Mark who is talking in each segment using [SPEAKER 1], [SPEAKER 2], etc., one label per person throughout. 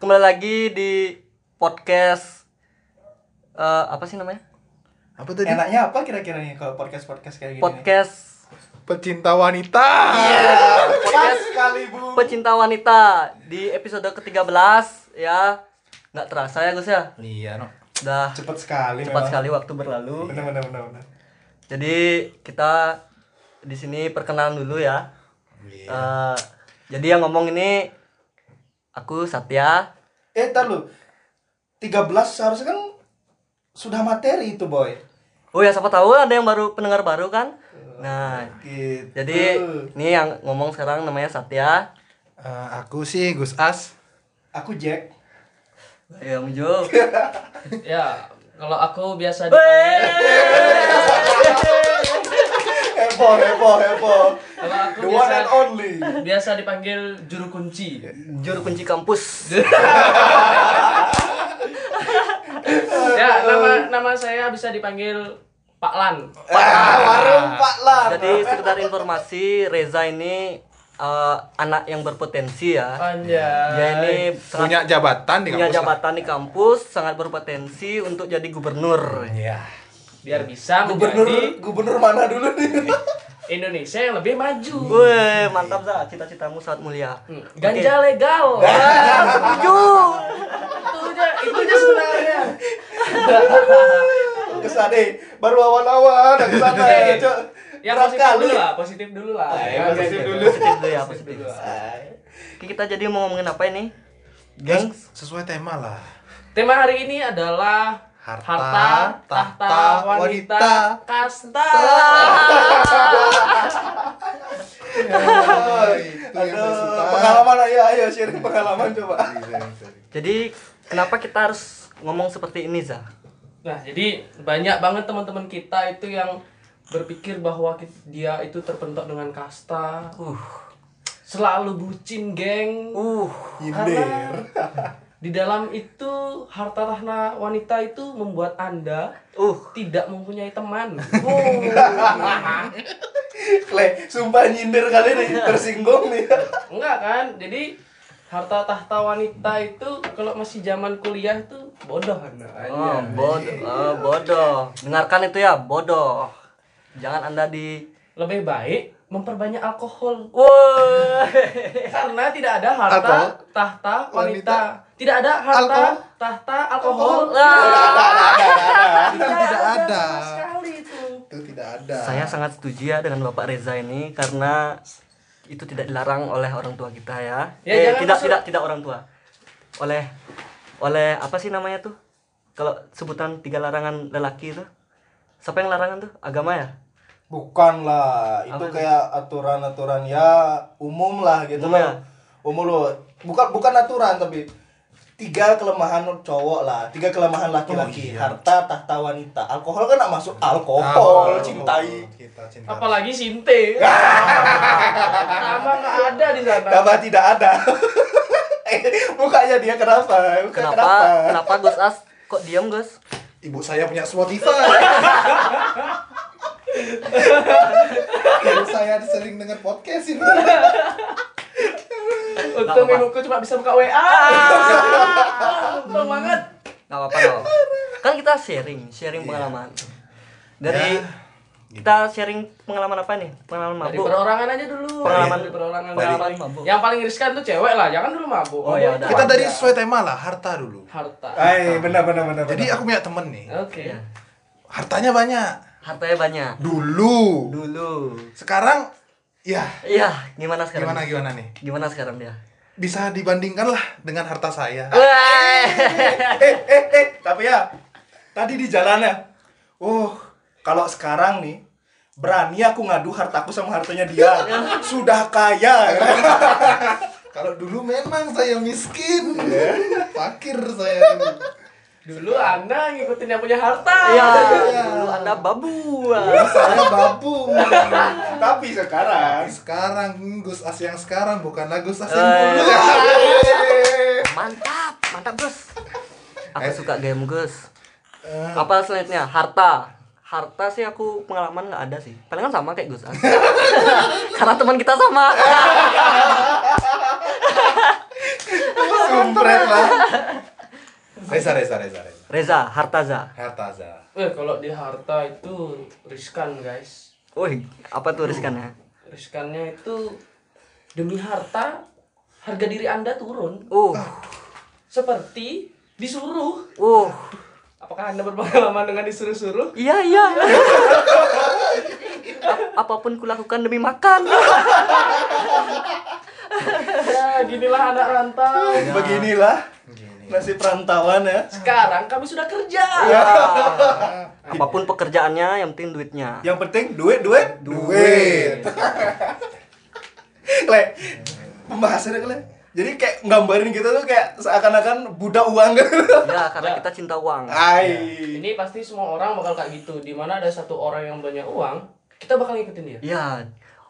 [SPEAKER 1] kembali lagi di podcast eh, apa sih namanya?
[SPEAKER 2] Apa tadi?
[SPEAKER 3] Enaknya apa kira-kira nih kalau podcast-podcast kayak gini?
[SPEAKER 1] Podcast
[SPEAKER 2] Pecinta wanita.
[SPEAKER 3] Podcast sekali, Bu.
[SPEAKER 1] pecinta wanita di episode ke-13 ya. Nggak terasa ya Gus ya.
[SPEAKER 2] Iya, no.
[SPEAKER 1] Udah
[SPEAKER 3] Cepet sekali
[SPEAKER 1] cepat
[SPEAKER 3] memang.
[SPEAKER 1] sekali waktu berlalu.
[SPEAKER 3] Benar benar benar benar.
[SPEAKER 1] Jadi kita di sini perkenalan dulu ya. Eh, jadi yang ngomong ini aku Satya.
[SPEAKER 3] Eh, tar lu. 13 seharusnya kan sudah materi itu, Boy.
[SPEAKER 1] Oh ya siapa tahu ada yang baru pendengar baru kan?
[SPEAKER 2] Iya.
[SPEAKER 1] Nah,
[SPEAKER 3] Gitu.
[SPEAKER 1] jadi ini yang ngomong sekarang namanya Satya.
[SPEAKER 2] Eh, aku sih Gus As.
[SPEAKER 3] aku Jack.
[SPEAKER 1] Ya, Mujo.
[SPEAKER 4] Ya, kalau aku biasa dipanggil,
[SPEAKER 3] Heboh, heboh, heboh.
[SPEAKER 4] kalau aku
[SPEAKER 3] The one
[SPEAKER 4] biasa,
[SPEAKER 3] and only.
[SPEAKER 4] biasa dipanggil juru kunci.
[SPEAKER 1] Juru kunci kampus.
[SPEAKER 4] Ya, nama nama saya bisa dipanggil Pak Lan.
[SPEAKER 3] Ah, warung Pak Lan.
[SPEAKER 1] Jadi sekedar informasi, Reza ini eh, anak yang berpotensi ya. Dia
[SPEAKER 4] Anjay.
[SPEAKER 1] ini sangat
[SPEAKER 2] Punya jabatan di
[SPEAKER 1] punya
[SPEAKER 2] kampus. lah.
[SPEAKER 1] jabatan di kampus, sangat berpotensi untuk jadi gubernur.
[SPEAKER 2] Iya.
[SPEAKER 4] Biar bisa
[SPEAKER 3] gubernur
[SPEAKER 4] menjadi
[SPEAKER 3] gubernur mana dulu nih?
[SPEAKER 4] Indonesia yang lebih maju.
[SPEAKER 1] Wih, mantap za, cita-citamu sangat mulia.
[SPEAKER 4] Hmm, Ganja legal.
[SPEAKER 3] Nah.
[SPEAKER 1] Setuju.
[SPEAKER 4] itu aja, itu aja Ya sebenarnya.
[SPEAKER 3] Kesana deh. Baru awal-awal udah kesana.
[SPEAKER 4] Eh,
[SPEAKER 3] Cok.
[SPEAKER 4] Ya
[SPEAKER 3] Berat
[SPEAKER 4] positif
[SPEAKER 3] kali.
[SPEAKER 4] dulu lah, positif dulu lah.
[SPEAKER 3] Ah, ya,
[SPEAKER 4] Ya,
[SPEAKER 3] positif
[SPEAKER 4] gitu.
[SPEAKER 3] dulu.
[SPEAKER 1] Positif dulu ya, positif.
[SPEAKER 3] Ah.
[SPEAKER 1] Oke, Kita jadi mau ngomongin apa ini? Gengs,
[SPEAKER 2] Gengs, sesuai tema lah.
[SPEAKER 4] Tema hari ini adalah
[SPEAKER 2] Harta,
[SPEAKER 4] tahta,
[SPEAKER 2] tahta,
[SPEAKER 4] wanita,
[SPEAKER 2] wanita,
[SPEAKER 4] kasta.
[SPEAKER 3] Iya, Aduh, pengalaman Iya, ayo ayo sharing pengalaman coba.
[SPEAKER 1] Jadi kenapa kita harus ngomong seperti ini Za?
[SPEAKER 4] Nah, jadi banyak banget teman-teman kita itu yang berpikir bahwa ki- dia itu terpentok dengan kasta,
[SPEAKER 1] Uh,
[SPEAKER 4] selalu bucin, geng.
[SPEAKER 1] uh,
[SPEAKER 3] Nyindir.
[SPEAKER 4] Di dalam itu harta tahta wanita itu membuat Anda
[SPEAKER 1] uh.
[SPEAKER 4] tidak mempunyai teman.
[SPEAKER 3] Le, sumpah nyindir kali nih, tersinggung nih.
[SPEAKER 4] Enggak kan? Jadi harta tahta wanita itu kalau masih zaman kuliah tuh bodoh Anda.
[SPEAKER 1] Oh, bodoh, eh, bodoh. Dengarkan itu ya, bodoh. Jangan anda di.
[SPEAKER 4] Lebih baik memperbanyak alkohol.
[SPEAKER 1] Woi.
[SPEAKER 4] karena tidak ada harta
[SPEAKER 2] Alkohol.
[SPEAKER 4] tahta wanita.
[SPEAKER 2] Wanita.
[SPEAKER 4] tidak ada harta
[SPEAKER 2] Alkohol.
[SPEAKER 4] tahta alkohol Nah,
[SPEAKER 1] Wah.
[SPEAKER 2] Itu tidak ada.
[SPEAKER 4] sama sekali itu
[SPEAKER 2] Itu tidak ada.
[SPEAKER 1] Saya sangat setuju ya dengan Bapak Reza ini karena itu tidak dilarang oleh orang tua kita ya.
[SPEAKER 4] Ya,
[SPEAKER 1] Eh,
[SPEAKER 4] jangan
[SPEAKER 1] tidak
[SPEAKER 4] masuk-
[SPEAKER 1] tidak tidak orang tua. Oleh oleh apa sih namanya tuh? Kalau sebutan tiga larangan lelaki itu siapa yang larangan tuh? Agama ya?
[SPEAKER 3] Bukan lah, itu
[SPEAKER 1] Apa itu?
[SPEAKER 3] kayak aturan-aturan ya umum lah gitu
[SPEAKER 1] Umum ya?
[SPEAKER 3] loh. Umum loh. Bukan bukan aturan tapi tiga kelemahan cowok lah, tiga kelemahan laki-laki, harta, tahta, wanita. Alkohol kan nggak masuk
[SPEAKER 1] Oh,
[SPEAKER 3] alkohol, cintai.
[SPEAKER 2] Oh, Kita cinta.
[SPEAKER 4] apalagi sinte sama nggak ada di sana
[SPEAKER 3] Tambah tidak ada. Eh, Mukanya dia kenapa? Muka
[SPEAKER 1] Kenapa? Kenapa Gus As kok diam Gus?
[SPEAKER 2] Ibu saya punya Spotify. Ibu saya sering dengar podcast ini.
[SPEAKER 1] Nggak
[SPEAKER 4] untung
[SPEAKER 1] apa-apa. Ah.
[SPEAKER 4] ibuku cuma bisa buka wa untung banget
[SPEAKER 1] Gak apa-apa nggak apa-apa. Kan kita sharing, sharing pengalaman. Dari
[SPEAKER 2] Iya. Ya.
[SPEAKER 1] kita sharing pengalaman apa nih? Pengalaman
[SPEAKER 4] dari
[SPEAKER 1] mabuk.
[SPEAKER 4] perorangan aja dulu
[SPEAKER 1] Pengalaman-
[SPEAKER 4] dari perorangan
[SPEAKER 1] Dari-
[SPEAKER 4] yang paling
[SPEAKER 1] mabuk.
[SPEAKER 4] yang paling riskan tuh cewek lah jangan dulu mabuk
[SPEAKER 1] Oh,
[SPEAKER 4] Mabuk
[SPEAKER 1] ya
[SPEAKER 4] itu
[SPEAKER 1] udah.
[SPEAKER 2] Kita
[SPEAKER 4] ada.
[SPEAKER 2] dari sesuai tema lah, harta dulu.
[SPEAKER 4] harta oke
[SPEAKER 3] Eh, benar benar benar.
[SPEAKER 2] Jadi aku punya temen nih,
[SPEAKER 1] Iya.
[SPEAKER 2] hartanya banyak.
[SPEAKER 1] Hartanya banyak.
[SPEAKER 2] Dulu.
[SPEAKER 1] Dulu.
[SPEAKER 2] Sekarang ya
[SPEAKER 1] Iya, gimana sekarang?
[SPEAKER 2] gimana gimana nih?
[SPEAKER 1] Gimana sekarang dia?
[SPEAKER 2] Bisa dibandingkan lah dengan harta saya.
[SPEAKER 3] eh eh eh tapi ya tadi di jalan ya uh kalau sekarang nih berani aku ngadu hartaku sama hartanya dia sudah kaya
[SPEAKER 2] Kalau dulu memang saya miskin, fakir saya dulu.
[SPEAKER 4] dulu anda ngikutin yang punya harta
[SPEAKER 1] Iya, dulu Anda babu.
[SPEAKER 2] Dulu saya babu.
[SPEAKER 3] tapi sekarang
[SPEAKER 2] Sekarang Gus As yang sekarang bukanlah Gus As
[SPEAKER 1] Eh.
[SPEAKER 2] yang dulu.
[SPEAKER 3] Ah, iya.
[SPEAKER 1] Mantap, mantap, Gus. Aku
[SPEAKER 2] Eh.
[SPEAKER 1] suka game, Gus.
[SPEAKER 2] Eh,
[SPEAKER 1] Apa selanjutnya? Harta. Harta sih aku pengalaman nggak ada sih. Palingan sama kayak Gus. As. Karena teman kita sama.
[SPEAKER 2] Sumpret lah. Reza, Reza, Reza, Reza.
[SPEAKER 1] Reza Hartaza.
[SPEAKER 2] Hartaza.
[SPEAKER 4] Eh kalau di harta itu riskan guys.
[SPEAKER 1] Wih, apa tuh riskan ya?
[SPEAKER 4] Riskannya itu demi harta harga diri anda turun.
[SPEAKER 1] Uh,
[SPEAKER 4] Seperti disuruh.
[SPEAKER 1] uh,
[SPEAKER 4] Apakah anda berpengalaman dengan disuruh-suruh?
[SPEAKER 1] iya iya. Ap- apapun kulakukan demi makan.
[SPEAKER 4] Ya ginilah anak rantau.
[SPEAKER 3] Beginilah nasib perantauan ya.
[SPEAKER 4] Sekarang kami sudah kerja.
[SPEAKER 1] Ah, apapun pekerjaannya, yang penting duitnya.
[SPEAKER 3] Yang penting duit, duit,
[SPEAKER 2] Duit.
[SPEAKER 3] Le, pembahasannya kan le. Jadi kayak nggambarin gitu tuh kayak seakan-akan budak uang gitu.
[SPEAKER 1] Ya, karena kita cinta uang.
[SPEAKER 3] Ai.
[SPEAKER 4] Ini pasti semua orang bakal kayak gitu. Dimana ada satu orang yang banyak uang, kita bakal ngikutin dia.
[SPEAKER 1] Ya,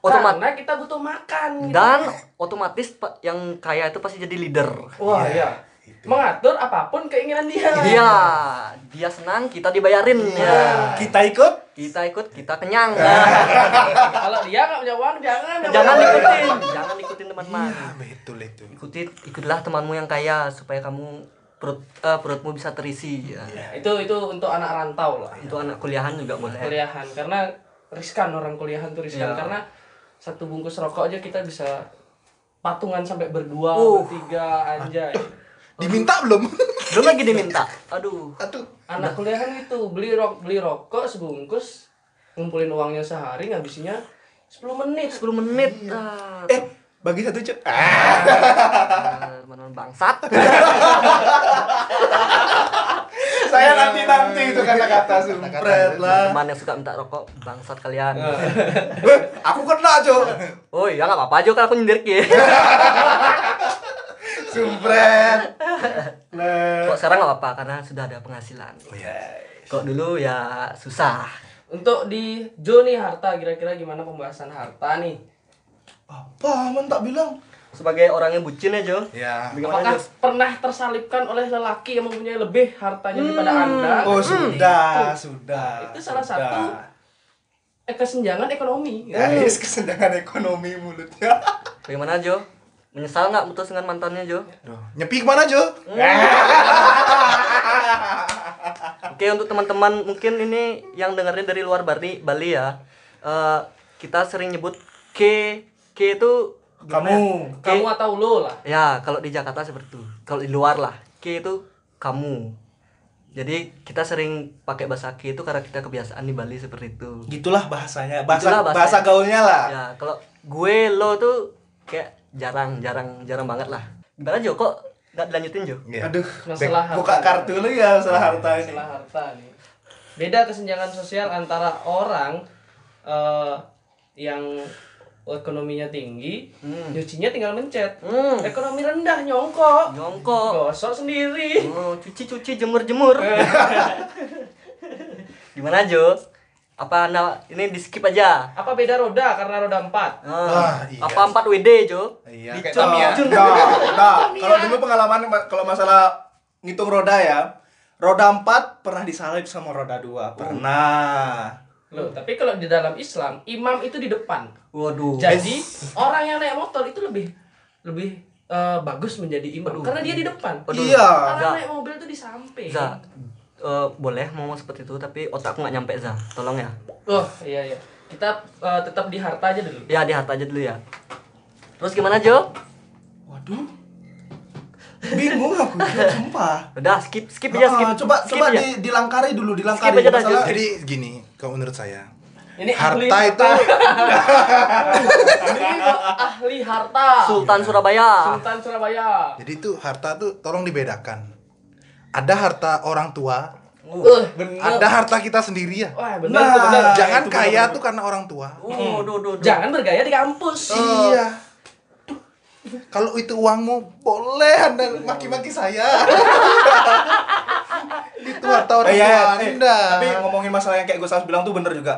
[SPEAKER 1] otomatis
[SPEAKER 4] Karena kita butuh makan. gitu.
[SPEAKER 1] dan otomatis pa- yang kaya itu pasti jadi leader.
[SPEAKER 4] wah ya, mengatur apapun keinginan dia.
[SPEAKER 1] Iya, dia senang kita dibayarin ya.
[SPEAKER 2] Iya.
[SPEAKER 3] Kita ikut
[SPEAKER 1] Kita ikut, kita kenyang.
[SPEAKER 4] Kalau dia nggak punya uang jangan.
[SPEAKER 1] Jangan ikutin, jangan ikutin teman-teman.
[SPEAKER 2] Betul itu.
[SPEAKER 1] Ikuti ikutilah temanmu yang kaya supaya kamu perut eh, perutmu bisa terisi. Ya.
[SPEAKER 4] Itu itu untuk anak rantau lah.
[SPEAKER 1] Untuk anak kuliahan juga boleh.
[SPEAKER 4] Kuliahan karena riskan orang kuliahan tuh
[SPEAKER 1] Iya.
[SPEAKER 4] riskan karena satu bungkus rokok aja kita bisa patungan sampai berdua,
[SPEAKER 1] Uh.
[SPEAKER 4] bertiga anjay.
[SPEAKER 2] Diminta belum?
[SPEAKER 1] Belum lagi diminta. Aduh.
[SPEAKER 2] Aduh.
[SPEAKER 4] Anak kuliahan itu beli rok beli rokok sebungkus ngumpulin uangnya sehari ngabisinnya 10 menit.
[SPEAKER 1] 10 menit. Ah,
[SPEAKER 3] eh bagi satu cuk. Ah.
[SPEAKER 1] teman-teman bangsat.
[SPEAKER 3] Saya nanti-nanti itu kata-kata sumpret lah.
[SPEAKER 1] Teman yang suka minta rokok, bangsat kalian.
[SPEAKER 3] Weh, aku kena cuk.
[SPEAKER 1] Oh iya nggak apa-apa juga aku nyindir Ki.
[SPEAKER 3] Sumpret. Le.
[SPEAKER 1] Kok sekarang nggak apa-apa karena sudah ada penghasilan. Kok dulu ya susah.
[SPEAKER 4] Untuk di Joni Harta kira-kira gimana pembahasan harta nih?
[SPEAKER 3] Apa aman tak bilang?
[SPEAKER 1] Sebagai orang yang bucin ya Jo.
[SPEAKER 2] Ya.
[SPEAKER 1] Bagaimana
[SPEAKER 4] Apakah
[SPEAKER 1] Jo?
[SPEAKER 4] pernah tersalipkan oleh lelaki yang mempunyai lebih hartanya daripada Anda? Hmm.
[SPEAKER 3] Oh sudah, sudah.
[SPEAKER 4] Itu
[SPEAKER 3] sudah.
[SPEAKER 4] salah satu eh, kesenjangan ekonomi.
[SPEAKER 3] Guys, kesenjangan ekonomi mulutnya.
[SPEAKER 1] Bagaimana Jo? Menyesal nggak putus dengan mantannya Jo?
[SPEAKER 2] Duh. Nyepi kemana, Jo?
[SPEAKER 1] Oke untuk teman-teman mungkin ini yang dengerin dari luar Bali Bali ya. Eh, kita sering nyebut K K itu
[SPEAKER 3] Kamu
[SPEAKER 4] Kamu atau lo lah.
[SPEAKER 1] ya kalau di Jakarta seperti itu. Kalau di luar lah K itu kamu. Jadi kita sering pakai bahasa K itu karena kita kebiasaan di Bali seperti itu.
[SPEAKER 4] ya?
[SPEAKER 3] gitulah bahasanya. Bahasa
[SPEAKER 1] Gitulah bahasanya.
[SPEAKER 3] bahasa
[SPEAKER 2] Iya.
[SPEAKER 3] gaulnya lah.
[SPEAKER 1] ya kalau gue lo tuh kayak jarang jarang jarang banget lah gimana Jo kok nggak dilanjutin Jo
[SPEAKER 2] Iya.
[SPEAKER 3] Aduh,
[SPEAKER 4] Masalah
[SPEAKER 3] Bek, buka
[SPEAKER 4] harta.
[SPEAKER 3] kartu lu ya masalah harta ini.
[SPEAKER 4] Masalah harta nih. Beda kesenjangan sosial antara orang eh, yang ekonominya tinggi, nyucinya tinggal mencet.
[SPEAKER 1] Hmm.
[SPEAKER 4] Ekonomi rendah nyongkok.
[SPEAKER 1] nyongkok
[SPEAKER 4] Gosok sendiri.
[SPEAKER 1] oh, cuci cuci jemur jemur gimana Jo apa anda ini di skip aja
[SPEAKER 4] Apa beda roda karena roda empat?
[SPEAKER 1] Ah,
[SPEAKER 2] iya.
[SPEAKER 1] apa 4 WD Jo
[SPEAKER 2] Iya, kayak
[SPEAKER 1] Dicun,
[SPEAKER 2] Tamiya.
[SPEAKER 1] dicun.
[SPEAKER 3] Nah, nah,
[SPEAKER 1] ya.
[SPEAKER 3] kalau dulu pengalaman ma- kalau masalah ngitung roda ya, roda 4 pernah disalip sama roda
[SPEAKER 1] Oh.
[SPEAKER 3] 2. Pernah.
[SPEAKER 4] Loh, tapi kalau di dalam Islam, imam itu di depan.
[SPEAKER 1] waduh
[SPEAKER 4] Jadi, orang yang naik motor itu lebih lebih eh, bagus menjadi imam karena dia di depan.
[SPEAKER 1] Waduh.
[SPEAKER 3] Iya.
[SPEAKER 4] Orang
[SPEAKER 1] Za
[SPEAKER 4] naik mobil itu di samping.
[SPEAKER 1] Za eh, boleh mau seperti itu tapi otakku nggak nyampe Za tolong ya
[SPEAKER 4] Oh, iya iya. Kita eh, tetap di harta aja dulu.
[SPEAKER 1] ya di harta aja dulu ya terus gimana Jo
[SPEAKER 3] Waduh. Bingung aku, sumpah.
[SPEAKER 1] udah skip skip aja Iya, skip
[SPEAKER 3] Ah, coba
[SPEAKER 1] skip ya.
[SPEAKER 3] coba
[SPEAKER 1] aja.
[SPEAKER 3] di, dilangkari dulu, dilangkari
[SPEAKER 1] aja dah,
[SPEAKER 3] masalah.
[SPEAKER 1] Jo.
[SPEAKER 2] Jadi gini, kalau menurut saya,
[SPEAKER 4] Ini ahli
[SPEAKER 2] harta itu
[SPEAKER 4] Ini kok ahli harta.
[SPEAKER 1] Sultan Surabaya
[SPEAKER 4] Sultan Surabaya.
[SPEAKER 2] jadi itu harta tuh tolong dibedakan. Ada harta orang tua,
[SPEAKER 4] Uh, bener.
[SPEAKER 2] ada harta kita sendiri ya.
[SPEAKER 4] Wah, bener
[SPEAKER 3] Nah.
[SPEAKER 4] tuh, bener.
[SPEAKER 2] Jangan
[SPEAKER 3] Iya. itu
[SPEAKER 2] kaya
[SPEAKER 3] benar-benar.
[SPEAKER 2] tuh karena orang tua.
[SPEAKER 1] Oh,
[SPEAKER 3] Hmm.
[SPEAKER 1] duh, duh, duh.
[SPEAKER 4] Jangan bergaya di kampus.
[SPEAKER 2] Iya. Kalau itu uangmu boleh Anda maki-maki saya. itu harta orang
[SPEAKER 3] Eh, ya,
[SPEAKER 2] tua
[SPEAKER 3] ya, eh,
[SPEAKER 2] Anda.
[SPEAKER 3] tapi ngomongin masalah yang kayak gue bilang tuh bener juga.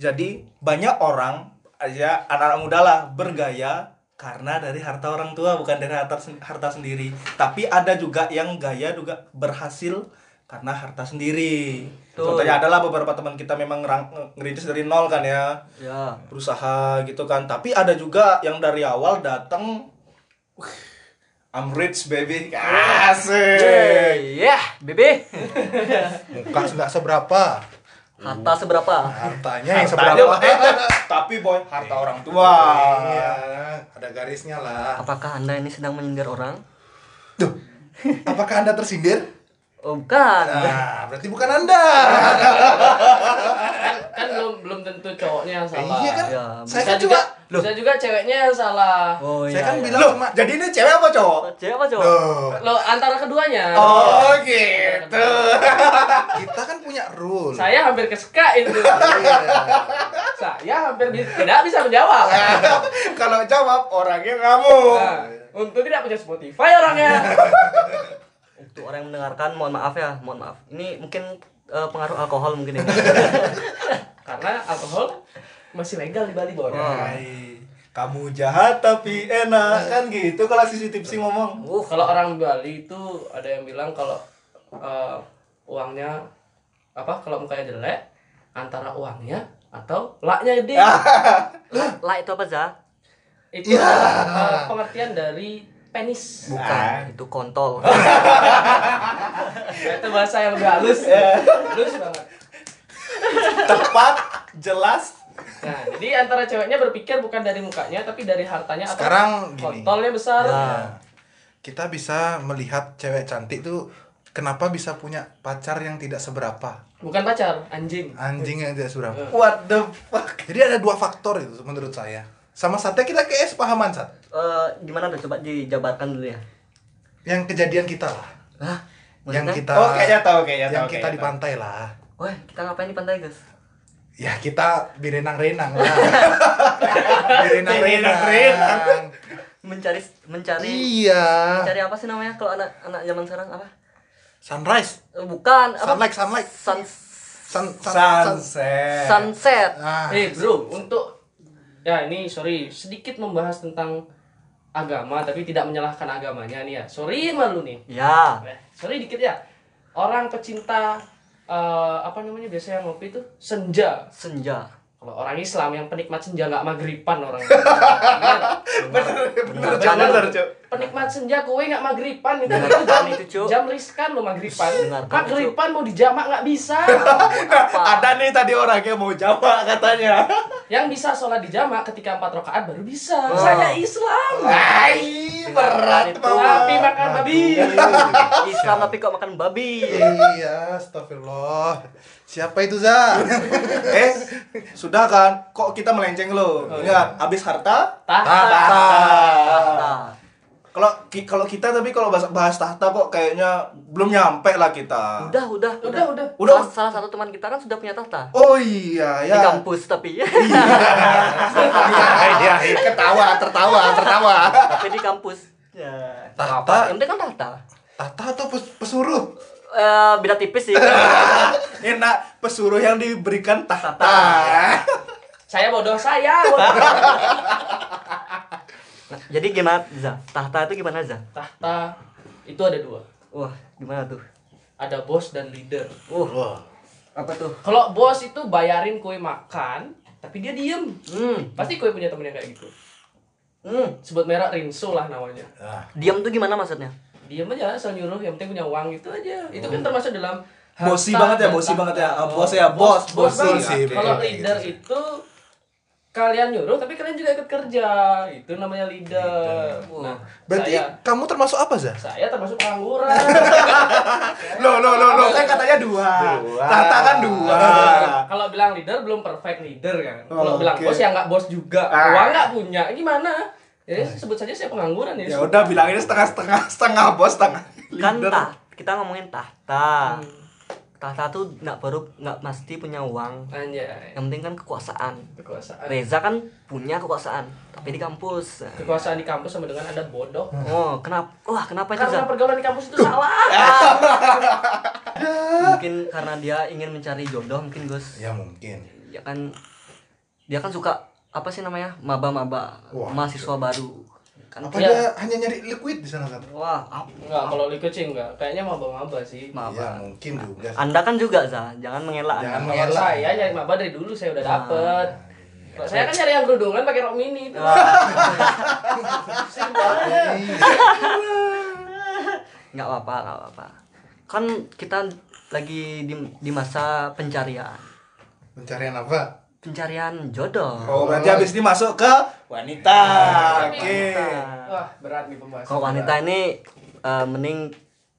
[SPEAKER 3] Jadi banyak orang aja anak-anak muda lah bergaya karena dari harta orang tua bukan dari harta sen- harta sendiri. Tapi ada juga yang gaya juga berhasil karena harta sendiri.
[SPEAKER 1] Betul.
[SPEAKER 3] Contohnya adalah beberapa teman kita memang ngerang- ngerintis dari nol kan ya
[SPEAKER 1] Ya.
[SPEAKER 3] berusaha gitu kan tapi ada juga yang dari awal datang "Wih, I'm rich baby.
[SPEAKER 2] Iya.
[SPEAKER 3] Asik.
[SPEAKER 1] Iya, Bebe.
[SPEAKER 2] Muka nggak seberapa.
[SPEAKER 1] Harta seberapa?
[SPEAKER 2] Hartanya yang
[SPEAKER 3] Tanya,
[SPEAKER 2] seberapa?
[SPEAKER 3] eh, tapi boy harta orang tua.
[SPEAKER 2] Iya, ada garisnya lah.
[SPEAKER 1] Apakah Anda ini sedang menyindir orang?
[SPEAKER 2] Duh, apakah Anda tersindir?
[SPEAKER 1] Oh,
[SPEAKER 3] Ah.
[SPEAKER 1] bukan.
[SPEAKER 2] Nah, berarti bukan Anda.
[SPEAKER 4] kan belum belum tentu cowoknya yang salah
[SPEAKER 2] Iya kan?
[SPEAKER 1] Ya,
[SPEAKER 2] Saya
[SPEAKER 4] bisa
[SPEAKER 2] kan
[SPEAKER 4] juga
[SPEAKER 2] juga Loh,
[SPEAKER 4] bisa juga ceweknya yang salah
[SPEAKER 1] Oh
[SPEAKER 2] saya kan bilang
[SPEAKER 3] Loh,
[SPEAKER 2] cuma
[SPEAKER 3] jadi ini cewek apa cowok?
[SPEAKER 1] Siapa cowok?
[SPEAKER 2] Loh,
[SPEAKER 4] lo antara keduanya Iya.
[SPEAKER 3] Oh gitu.
[SPEAKER 2] kita kan punya rule.
[SPEAKER 4] saya hampir kesekak itu saya hampir bi- tidak bisa menjawab
[SPEAKER 3] Kalau jawab orangnya ngamuk.
[SPEAKER 4] nah, untuk tidak punya Spotify orangnya
[SPEAKER 1] Untuk orang yang mendengarkan mohon maaf ya, mohon maaf. Ini mungkin eh, pengaruh alkohol mungkin ini.
[SPEAKER 4] karena alkohol masih legal di Bali Bor
[SPEAKER 3] Oh, Hai, Kamu jahat tapi enak kan gitu kalau sisi tipsi ngomong.
[SPEAKER 1] Uh,
[SPEAKER 4] kalau orang Bali itu ada yang bilang kalau eh, uangnya apa kalau mukanya jelek antara uangnya atau laknya gede
[SPEAKER 2] Ah.
[SPEAKER 1] la, la itu apa Za?
[SPEAKER 4] itu
[SPEAKER 2] Iya.
[SPEAKER 4] eh, pengertian dari penis
[SPEAKER 1] Bukan,
[SPEAKER 3] Ah.
[SPEAKER 1] itu kontol.
[SPEAKER 4] itu bahasa yang lebih halus
[SPEAKER 2] Iya.
[SPEAKER 3] Ya.
[SPEAKER 4] halus banget
[SPEAKER 3] Tepat, jelas.
[SPEAKER 4] Nah, jadi antara ceweknya berpikir bukan dari mukanya tapi dari hartanya atau
[SPEAKER 2] Sekarang gini.
[SPEAKER 4] kontolnya besar.
[SPEAKER 1] Nah,
[SPEAKER 2] Iya. Kita bisa melihat cewek cantik tuh kenapa bisa punya pacar yang tidak seberapa?
[SPEAKER 4] Bukan pacar, anjing.
[SPEAKER 2] Anjing yang tidak seberapa.
[SPEAKER 4] Iya.
[SPEAKER 3] What the fuck?
[SPEAKER 2] Jadi ada dua faktor itu menurut saya. Sama Satya kita KS pahaman Sat.
[SPEAKER 1] eh, gimana tuh coba dijabarkan dulu ya?
[SPEAKER 2] Yang kejadian kita lah.
[SPEAKER 1] Hah? Maksudnya?
[SPEAKER 2] Yang kita
[SPEAKER 3] Oh, kayaknya tahu, kayaknya
[SPEAKER 2] Yang
[SPEAKER 3] iya, tahu,
[SPEAKER 2] kita
[SPEAKER 3] kayaknya
[SPEAKER 2] di pantai lah.
[SPEAKER 1] Wah, kita ngapain di pantai, guys?
[SPEAKER 2] Ya kita berenang-renang lah. berenang-renang.
[SPEAKER 3] Berenang-renang.
[SPEAKER 1] Mencari mencari
[SPEAKER 2] Iya.
[SPEAKER 1] mencari apa sih namanya kalau anak anak zaman sekarang apa?
[SPEAKER 2] Sunrise.
[SPEAKER 1] Eh, Bukan, apa?
[SPEAKER 2] Sunlight, sunlight.
[SPEAKER 1] Sun,
[SPEAKER 2] Sun, sun, sun-
[SPEAKER 3] Sunset.
[SPEAKER 1] sunset.
[SPEAKER 2] Ah.
[SPEAKER 4] Eh, Bro, untuk ya ini sorry, sedikit membahas tentang agama tapi tidak menyalahkan agamanya nih ya. Sorry malu nih.
[SPEAKER 1] Ya.
[SPEAKER 4] Eh, Sorry dikit ya. Orang pecinta eh, apa namanya biasanya yang ngopi itu senja.
[SPEAKER 1] senja
[SPEAKER 4] Kalau orang Islam yang penikmat senja nggak magriban orang.
[SPEAKER 3] Bener, bener,
[SPEAKER 1] Bener,
[SPEAKER 3] bener,
[SPEAKER 1] bener,
[SPEAKER 3] Cuk.
[SPEAKER 4] penikmat senja kowe nggak magriban itu
[SPEAKER 1] Bener,
[SPEAKER 4] itu jam,
[SPEAKER 1] itu, Cuk.
[SPEAKER 4] jam riskan lo magriban
[SPEAKER 1] Bener, Cuk.
[SPEAKER 4] magriban mau dijamak nggak bisa
[SPEAKER 1] apa
[SPEAKER 3] Ada nih tadi orangnya mau jawab katanya.
[SPEAKER 4] yang bisa sholat dijamak ketika empat rakaat baru bisa
[SPEAKER 1] Oh.
[SPEAKER 4] saya Islam
[SPEAKER 3] Hai, berat
[SPEAKER 1] Itu.
[SPEAKER 3] banget.
[SPEAKER 4] tapi makan babi
[SPEAKER 1] Islam tapi kok makan babi
[SPEAKER 2] Iya, astagfirullah. Siapa itu, Za?
[SPEAKER 3] Eh, sudah kan? Kok kita melenceng lo? Ingat, habis harta?
[SPEAKER 4] tahta
[SPEAKER 1] Nah,
[SPEAKER 3] Kalau ki- kalau kita tapi kalau bahas, bahas tahta kok kayaknya belum nyampe lah kita.
[SPEAKER 1] udah udah
[SPEAKER 4] udah udah
[SPEAKER 3] Udah.
[SPEAKER 1] Salah, salah satu teman kita kan sudah punya tahta
[SPEAKER 3] Oh iya
[SPEAKER 1] di
[SPEAKER 3] ya.
[SPEAKER 1] kampus tapi
[SPEAKER 2] Iya, iya.
[SPEAKER 3] Ketawa, tertawa, tertawa.
[SPEAKER 1] tapi di kampus ya
[SPEAKER 2] Tahta,
[SPEAKER 1] yang penting kan tahta
[SPEAKER 2] tahta atau pes- pesuruh?
[SPEAKER 1] Eh, beda tipis sih Nah,
[SPEAKER 3] Enak pesuruh yang diberikan
[SPEAKER 1] Tahta.
[SPEAKER 3] tahta.
[SPEAKER 4] saya bodoh saya bodoh.
[SPEAKER 1] Nah, jadi gimana Za tahta itu gimana Za
[SPEAKER 4] tahta itu ada dua
[SPEAKER 1] wah gimana tuh
[SPEAKER 4] ada bos dan leader
[SPEAKER 1] uh apa tuh
[SPEAKER 4] kalau bos itu bayarin kowe makan tapi dia diem
[SPEAKER 1] hmm
[SPEAKER 4] pasti kowe punya temen yang kayak gitu
[SPEAKER 1] hmm
[SPEAKER 4] sebut merek Rinso lah namanya
[SPEAKER 1] diam tuh gimana maksudnya
[SPEAKER 4] diam aja asal nyuruh yang penting punya uang gitu aja itu kan termasuk dalam
[SPEAKER 3] Oh. Bosi
[SPEAKER 4] harta
[SPEAKER 3] banget ya,
[SPEAKER 4] dan
[SPEAKER 3] bosi
[SPEAKER 4] tahta.
[SPEAKER 3] banget ya. Ah,
[SPEAKER 4] Oh,
[SPEAKER 3] bos ya, bos,
[SPEAKER 4] bos
[SPEAKER 3] bosi.
[SPEAKER 4] banget.
[SPEAKER 2] Bosi, betul.
[SPEAKER 4] kalau
[SPEAKER 2] Iya,
[SPEAKER 4] leader
[SPEAKER 2] iya.
[SPEAKER 4] itu kalian nyuruh tapi kalian juga ikut kerja itu namanya leader nah
[SPEAKER 2] Berarti
[SPEAKER 4] saya
[SPEAKER 2] kamu termasuk apa, Za?
[SPEAKER 4] saya termasuk pengangguran
[SPEAKER 3] Loh, loh, loh, loh, kan katanya dua. Tahta kan dua.
[SPEAKER 4] kalau bilang leader belum perfect leader kan kalau
[SPEAKER 3] Oh,
[SPEAKER 4] bilang
[SPEAKER 3] oke.
[SPEAKER 4] bos ya nggak bos juga
[SPEAKER 3] Ah.
[SPEAKER 4] uang nggak punya gimana jadi sebut saja saya pengangguran ya,
[SPEAKER 3] Ya udah bilanginnya setengah-setengah, setengah bos, setengah.
[SPEAKER 1] kan
[SPEAKER 3] leader.
[SPEAKER 1] tah kita ngomongin tahta
[SPEAKER 2] Hmm.
[SPEAKER 1] tahta tuh nggak baru nggak pasti punya uang
[SPEAKER 4] anjay
[SPEAKER 1] yang penting kan kekuasaan
[SPEAKER 4] kekuasaan
[SPEAKER 1] Reza kan punya kekuasaan tapi di kampus
[SPEAKER 4] kekuasaan di kampus sama dengan anda bodoh
[SPEAKER 1] oh kenapa wah kenapa itu
[SPEAKER 4] karena
[SPEAKER 1] Zah?
[SPEAKER 4] pergaulan di kampus itu salah
[SPEAKER 1] mungkin karena dia ingin mencari jodoh mungkin Gus
[SPEAKER 2] Ya mungkin.
[SPEAKER 1] ya kan dia kan suka apa sih namanya maba-maba
[SPEAKER 2] Wah. ya.
[SPEAKER 1] mahasiswa baru kan
[SPEAKER 2] Apa
[SPEAKER 4] Iya.
[SPEAKER 2] dia hanya nyari liquid di sana, Za?
[SPEAKER 1] wah ap-
[SPEAKER 4] Enggak, kalau liquid sih enggak. Kayaknya maba-maba
[SPEAKER 2] Ya
[SPEAKER 4] sih.
[SPEAKER 1] maba
[SPEAKER 2] mungkin juga.
[SPEAKER 1] anda kan juga za jangan mengelak Anda.
[SPEAKER 2] Jangan
[SPEAKER 4] Kalau
[SPEAKER 2] mengelak.
[SPEAKER 1] Nah, iya.
[SPEAKER 4] saya nyari maba dari dulu saya udah dapet. Kok Saya kan nyari yang kerudungan pakai rok mini itu.
[SPEAKER 2] Iya.
[SPEAKER 1] nggak apa-apa nggak apa-apa kan kita lagi di di masa pencarian
[SPEAKER 2] Pencarian apa?
[SPEAKER 1] pencarian jodoh
[SPEAKER 3] Oh, berarti habis ini masuk ke wanita. Oke.
[SPEAKER 4] Wah, berat nih pembahasan.
[SPEAKER 1] kalau wanita ini eh, mending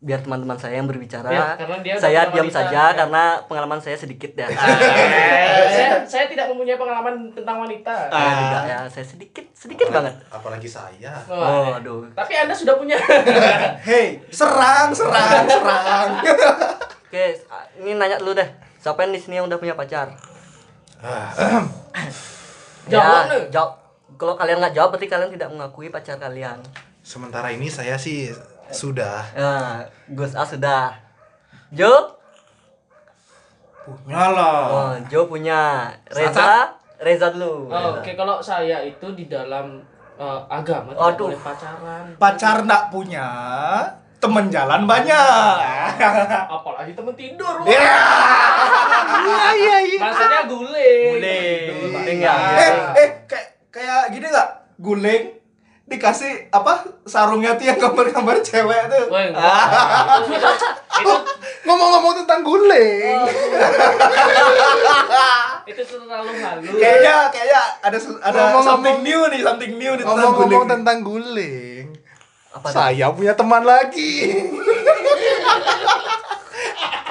[SPEAKER 1] biar teman-teman saya yang berbicara
[SPEAKER 4] Ya, karena dia udah
[SPEAKER 1] saya
[SPEAKER 4] pernah
[SPEAKER 1] diam
[SPEAKER 4] wanita,
[SPEAKER 1] saja
[SPEAKER 4] ya.
[SPEAKER 1] karena pengalaman saya sedikit ya
[SPEAKER 4] Eh, saya, saya tidak mempunyai pengalaman tentang wanita.
[SPEAKER 1] saya tidak ya saya sedikit sedikit banget
[SPEAKER 2] Apalagi saya.
[SPEAKER 1] oh
[SPEAKER 4] Wah,
[SPEAKER 1] aduh
[SPEAKER 4] Tapi Anda sudah punya.
[SPEAKER 3] Hey, serang, serang, serang.
[SPEAKER 1] oke ah, ini nanya dulu deh siapa yang di sini yang udah punya pacar
[SPEAKER 2] Ah,
[SPEAKER 4] Jawab lu.
[SPEAKER 1] Ya, jawab kalau kalian nggak jawab berarti kalian tidak mengakui pacar kalian
[SPEAKER 2] Sementara ini saya sih sudah.
[SPEAKER 1] ya Gus A sudah Jo
[SPEAKER 3] Punya lah.
[SPEAKER 1] Oh, Joe punya Reza, Reza dulu.
[SPEAKER 4] Oh, Oke, kalau saya itu di dalam eh, agama tidak
[SPEAKER 1] Aduh.
[SPEAKER 4] boleh pacaran.
[SPEAKER 3] Pacar nak punya, temen jalan banyak.
[SPEAKER 4] Apalagi temen tidur. wah.
[SPEAKER 3] Ya.
[SPEAKER 1] iya iya.
[SPEAKER 4] Maksudnya guling.
[SPEAKER 3] Guling.
[SPEAKER 1] Penting ya.
[SPEAKER 3] Eh, eh, kayak kayak gini nggak? Guling dikasih apa sarungnya tuh yang gambar-gambar cewek tuh.
[SPEAKER 4] Woi, enggak. itu,
[SPEAKER 2] Ngomong-ngomong tentang guling.
[SPEAKER 4] itu, itu terlalu halus.
[SPEAKER 3] Kayaknya kayaknya ada se- ada
[SPEAKER 2] Ngomong-ngomong-
[SPEAKER 3] something new nih, something new nih tentang guling.
[SPEAKER 2] Ngomong-ngomong tentang guling.
[SPEAKER 1] Apa tuh?
[SPEAKER 2] Saya punya teman lagi.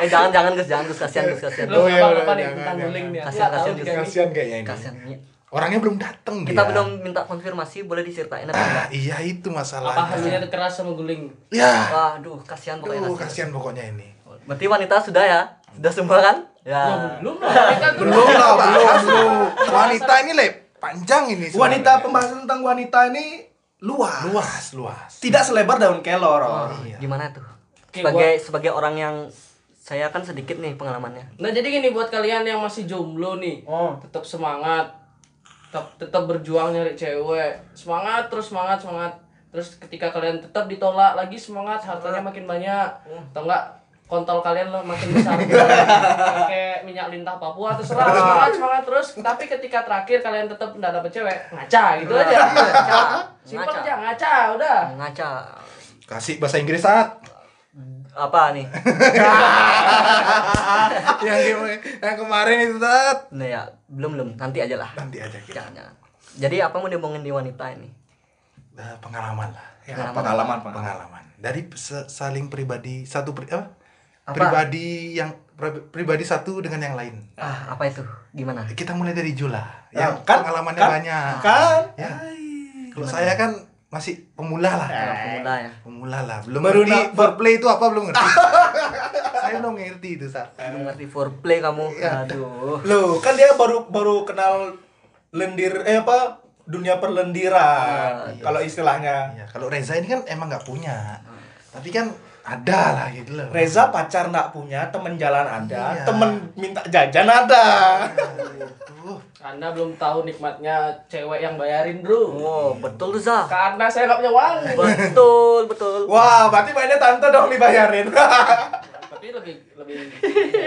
[SPEAKER 1] Eh jangan jangan Gus, jangan Gus kasihan Gus kasihan.
[SPEAKER 4] Belum
[SPEAKER 2] Oh, iya,
[SPEAKER 4] apa-apa
[SPEAKER 2] udah,
[SPEAKER 4] nih
[SPEAKER 2] jangan,
[SPEAKER 4] tentang
[SPEAKER 2] jangan.
[SPEAKER 4] guling nih. Aku
[SPEAKER 1] Kasihan,
[SPEAKER 4] nggak tahu
[SPEAKER 1] kasihan
[SPEAKER 4] juga nih.
[SPEAKER 2] Kasihan kayaknya ini.
[SPEAKER 1] Kasihan. iya.
[SPEAKER 2] Orangnya belum datang dia.
[SPEAKER 4] Iya.
[SPEAKER 1] Kita belum minta konfirmasi boleh diceritain apa enggak?
[SPEAKER 2] Nah, iya itu
[SPEAKER 4] Apa
[SPEAKER 2] masalahnya.
[SPEAKER 4] halunya keras sama guling?
[SPEAKER 2] Ya.
[SPEAKER 1] Waduh, kasihan pokoknya
[SPEAKER 2] Aduh,
[SPEAKER 1] kasihan.
[SPEAKER 2] kasihan pokoknya ini.
[SPEAKER 1] Berarti wanita sudah ya? Sudah semua kan? Ya.
[SPEAKER 4] Ya, belum lah. kan Kita tuh-
[SPEAKER 2] Belum lah, belum, belum. Wanita ini le panjang ini.
[SPEAKER 3] Wanita
[SPEAKER 2] sebenarnya. Ah,
[SPEAKER 3] pembahasan tentang wanita ini luas.
[SPEAKER 2] luas, luas.
[SPEAKER 3] Tidak selebar daun kelor. Or.
[SPEAKER 1] Gimana tuh?
[SPEAKER 4] Oke,
[SPEAKER 1] Sebagai sebagai orang yang saya kan sedikit nih pengalamannya.
[SPEAKER 4] Nah jadi gini buat kalian yang masih jomblo nih,
[SPEAKER 3] Oh.
[SPEAKER 4] tetap semangat, tetap tetap berjuang nyari cewek, semangat terus semangat semangat. Terus ketika kalian tetap ditolak lagi semangat, hartanya makin banyak,
[SPEAKER 2] Hmm.
[SPEAKER 4] atau enggak kontol kalian lo makin besar pakai minyak lintah Papua terserah semangat semangat terus tapi ketika terakhir kalian tetap nggak dapet cewek ngaca gitu aja ngaca simpel
[SPEAKER 1] Ngaca.
[SPEAKER 4] aja ngaca udah
[SPEAKER 1] Ngaca
[SPEAKER 2] Kasih bahasa Inggris saat.
[SPEAKER 1] apa nih?
[SPEAKER 2] yang, kemarin- yang kemarin itu saat.
[SPEAKER 1] Nah ya, belum belum, nanti aja lah.
[SPEAKER 2] Nanti aja
[SPEAKER 3] Ya.
[SPEAKER 2] kita.
[SPEAKER 1] Jangan jangan. Jadi apa mau diomongin di wanita ini?
[SPEAKER 2] Nah, pengalaman lah.
[SPEAKER 1] Pengalaman.
[SPEAKER 3] Ya, Pengalaman, pengalaman.
[SPEAKER 2] Pengalaman. Dari se- saling pribadi satu pri- apa?
[SPEAKER 1] Apa?
[SPEAKER 2] Pribadi yang pri- pribadi satu dengan yang lain.
[SPEAKER 1] Ah, apa itu? Gimana?
[SPEAKER 2] Kita mulai dari Jula.
[SPEAKER 3] Ya,
[SPEAKER 2] Yang
[SPEAKER 3] kan,
[SPEAKER 2] pengalamannya
[SPEAKER 3] kan,
[SPEAKER 2] banyak.
[SPEAKER 3] Kan?
[SPEAKER 2] Ya. Kalau saya kan masih pemula lah.
[SPEAKER 1] Kalau
[SPEAKER 3] Eh.
[SPEAKER 1] pemula ya.
[SPEAKER 2] pemula lah belum
[SPEAKER 3] Baru
[SPEAKER 2] ngerti
[SPEAKER 3] na-
[SPEAKER 2] foreplay itu apa belum ngerti saya belum ngerti itu sa
[SPEAKER 1] Belum ngerti foreplay kamu.
[SPEAKER 3] Iya.
[SPEAKER 1] Aduh.
[SPEAKER 3] Loh, kan dia baru baru kenal lendir eh apa dunia
[SPEAKER 2] Ah,
[SPEAKER 3] perlendiran kalau istilahnya.
[SPEAKER 2] Iya, kalau Reza ini kan emang nggak punya tapi kan ada lah gitu loh
[SPEAKER 3] Hmm. Reza pacar nak punya, temen jalan ada,
[SPEAKER 2] Iya.
[SPEAKER 3] temen minta jajan ada.
[SPEAKER 2] Aduh,
[SPEAKER 4] anda belum tahu nikmatnya cewek yang bayarin bro
[SPEAKER 1] Wow, Oh, betul tuh Zah.
[SPEAKER 4] karena saya nggak punya uang
[SPEAKER 1] Betul, betul.
[SPEAKER 3] Wah, berarti mainnya tante dong dibayarin.
[SPEAKER 4] tapi lebih lebih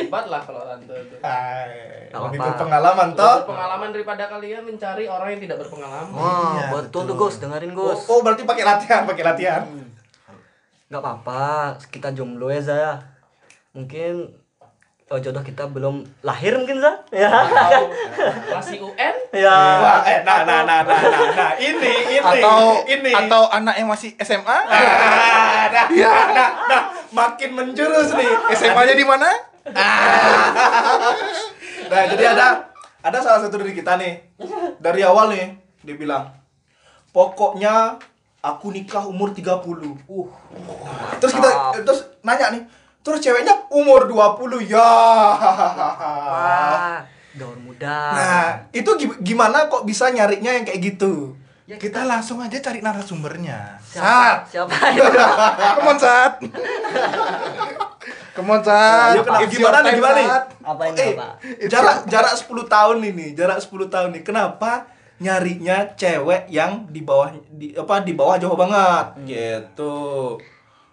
[SPEAKER 4] hebat lah kalau tante itu
[SPEAKER 3] Hai,
[SPEAKER 1] Gak
[SPEAKER 3] Lebih
[SPEAKER 1] apa-apa.
[SPEAKER 3] Nah, berpengalaman toh.
[SPEAKER 4] lebih berpengalaman daripada kalian mencari orang yang tidak berpengalaman
[SPEAKER 1] Wah,
[SPEAKER 2] Iya,
[SPEAKER 1] Ah, betul tuh
[SPEAKER 2] betul.
[SPEAKER 1] Gus, dengerin
[SPEAKER 3] Oh,
[SPEAKER 1] Gus.
[SPEAKER 3] oh, berarti pakai latihan, pakai latihan.
[SPEAKER 1] Gak apa-apa, kita jomblo ya Zah ya. Mungkin oh, jodoh kita belum lahir mungkin Zah. Ya.
[SPEAKER 4] atau masih UN
[SPEAKER 1] Ya.
[SPEAKER 3] Wah, eh, nah, nah, nah, nah, nah, nah, ini, ini,
[SPEAKER 2] atau
[SPEAKER 3] ini,
[SPEAKER 2] atau anak yang masih SMA
[SPEAKER 3] Ah, nah, nah, nah, nah, makin menjurus nih.
[SPEAKER 2] SMA-nya di mana
[SPEAKER 3] Nah, jadi ada ada salah satu dari kita nih. Dari awal nih dia bilang, "Pokoknya aku nikah umur 30." Uh. Terus kita
[SPEAKER 1] Mantap.
[SPEAKER 3] terus nanya nih, terus ceweknya umur 20. Ya.
[SPEAKER 1] Wah, daun muda.
[SPEAKER 3] Eh. Nah, itu gi- gimana kok bisa nyarinya yang kayak gitu?
[SPEAKER 1] Ya,
[SPEAKER 2] kita langsung aja cari narasumbernya
[SPEAKER 1] siapa?
[SPEAKER 2] saat
[SPEAKER 1] Siapa itu?
[SPEAKER 2] come on saat come on saat
[SPEAKER 3] Ya, kenapa- gimana nih, gimana nih?
[SPEAKER 1] Apa ini,
[SPEAKER 3] Eh,
[SPEAKER 1] Bapak?
[SPEAKER 3] jarak jarak 10 tahun ini, jarak 10 tahun nih. Kenapa nyarinya cewek yang di bawah di apa di bawah jauh banget gitu.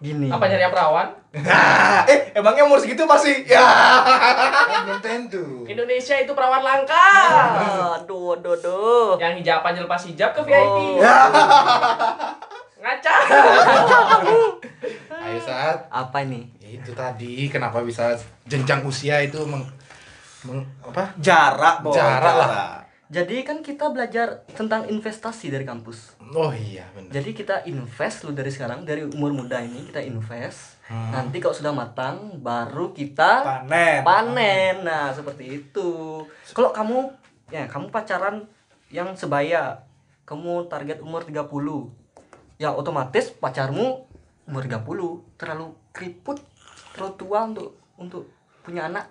[SPEAKER 1] Gini.
[SPEAKER 4] apa nyari yang perawan
[SPEAKER 3] Nah, eh emangnya umur segitu masih ya.
[SPEAKER 2] belum tentu
[SPEAKER 4] Indonesia itu perawan langka
[SPEAKER 1] Ah, Aduh, aduh, aduh.
[SPEAKER 3] Ya.
[SPEAKER 4] Yang hijab aja lepas hijab ke VIP. Ngaca.
[SPEAKER 2] Ayo saat
[SPEAKER 1] Apa ini?
[SPEAKER 2] Ya, itu tadi kenapa bisa jenjang usia itu meng, meng- apa
[SPEAKER 3] Jarak, Boy.
[SPEAKER 2] Jarak lah.
[SPEAKER 1] Jadi kan kita belajar tentang investasi dari kampus.
[SPEAKER 2] oh iya benar
[SPEAKER 1] Jadi kita invest lu dari sekarang dari umur muda ini kita invest.
[SPEAKER 2] Hmm.
[SPEAKER 1] Nanti kalau sudah matang baru kita
[SPEAKER 3] Panen.
[SPEAKER 1] panen. Nah, seperti itu. Kalau kamu ya kamu pacaran yang sebaya, kamu target umur 30. Ya otomatis pacarmu umur 30, terlalu keriput, terlalu tua untuk untuk punya anak.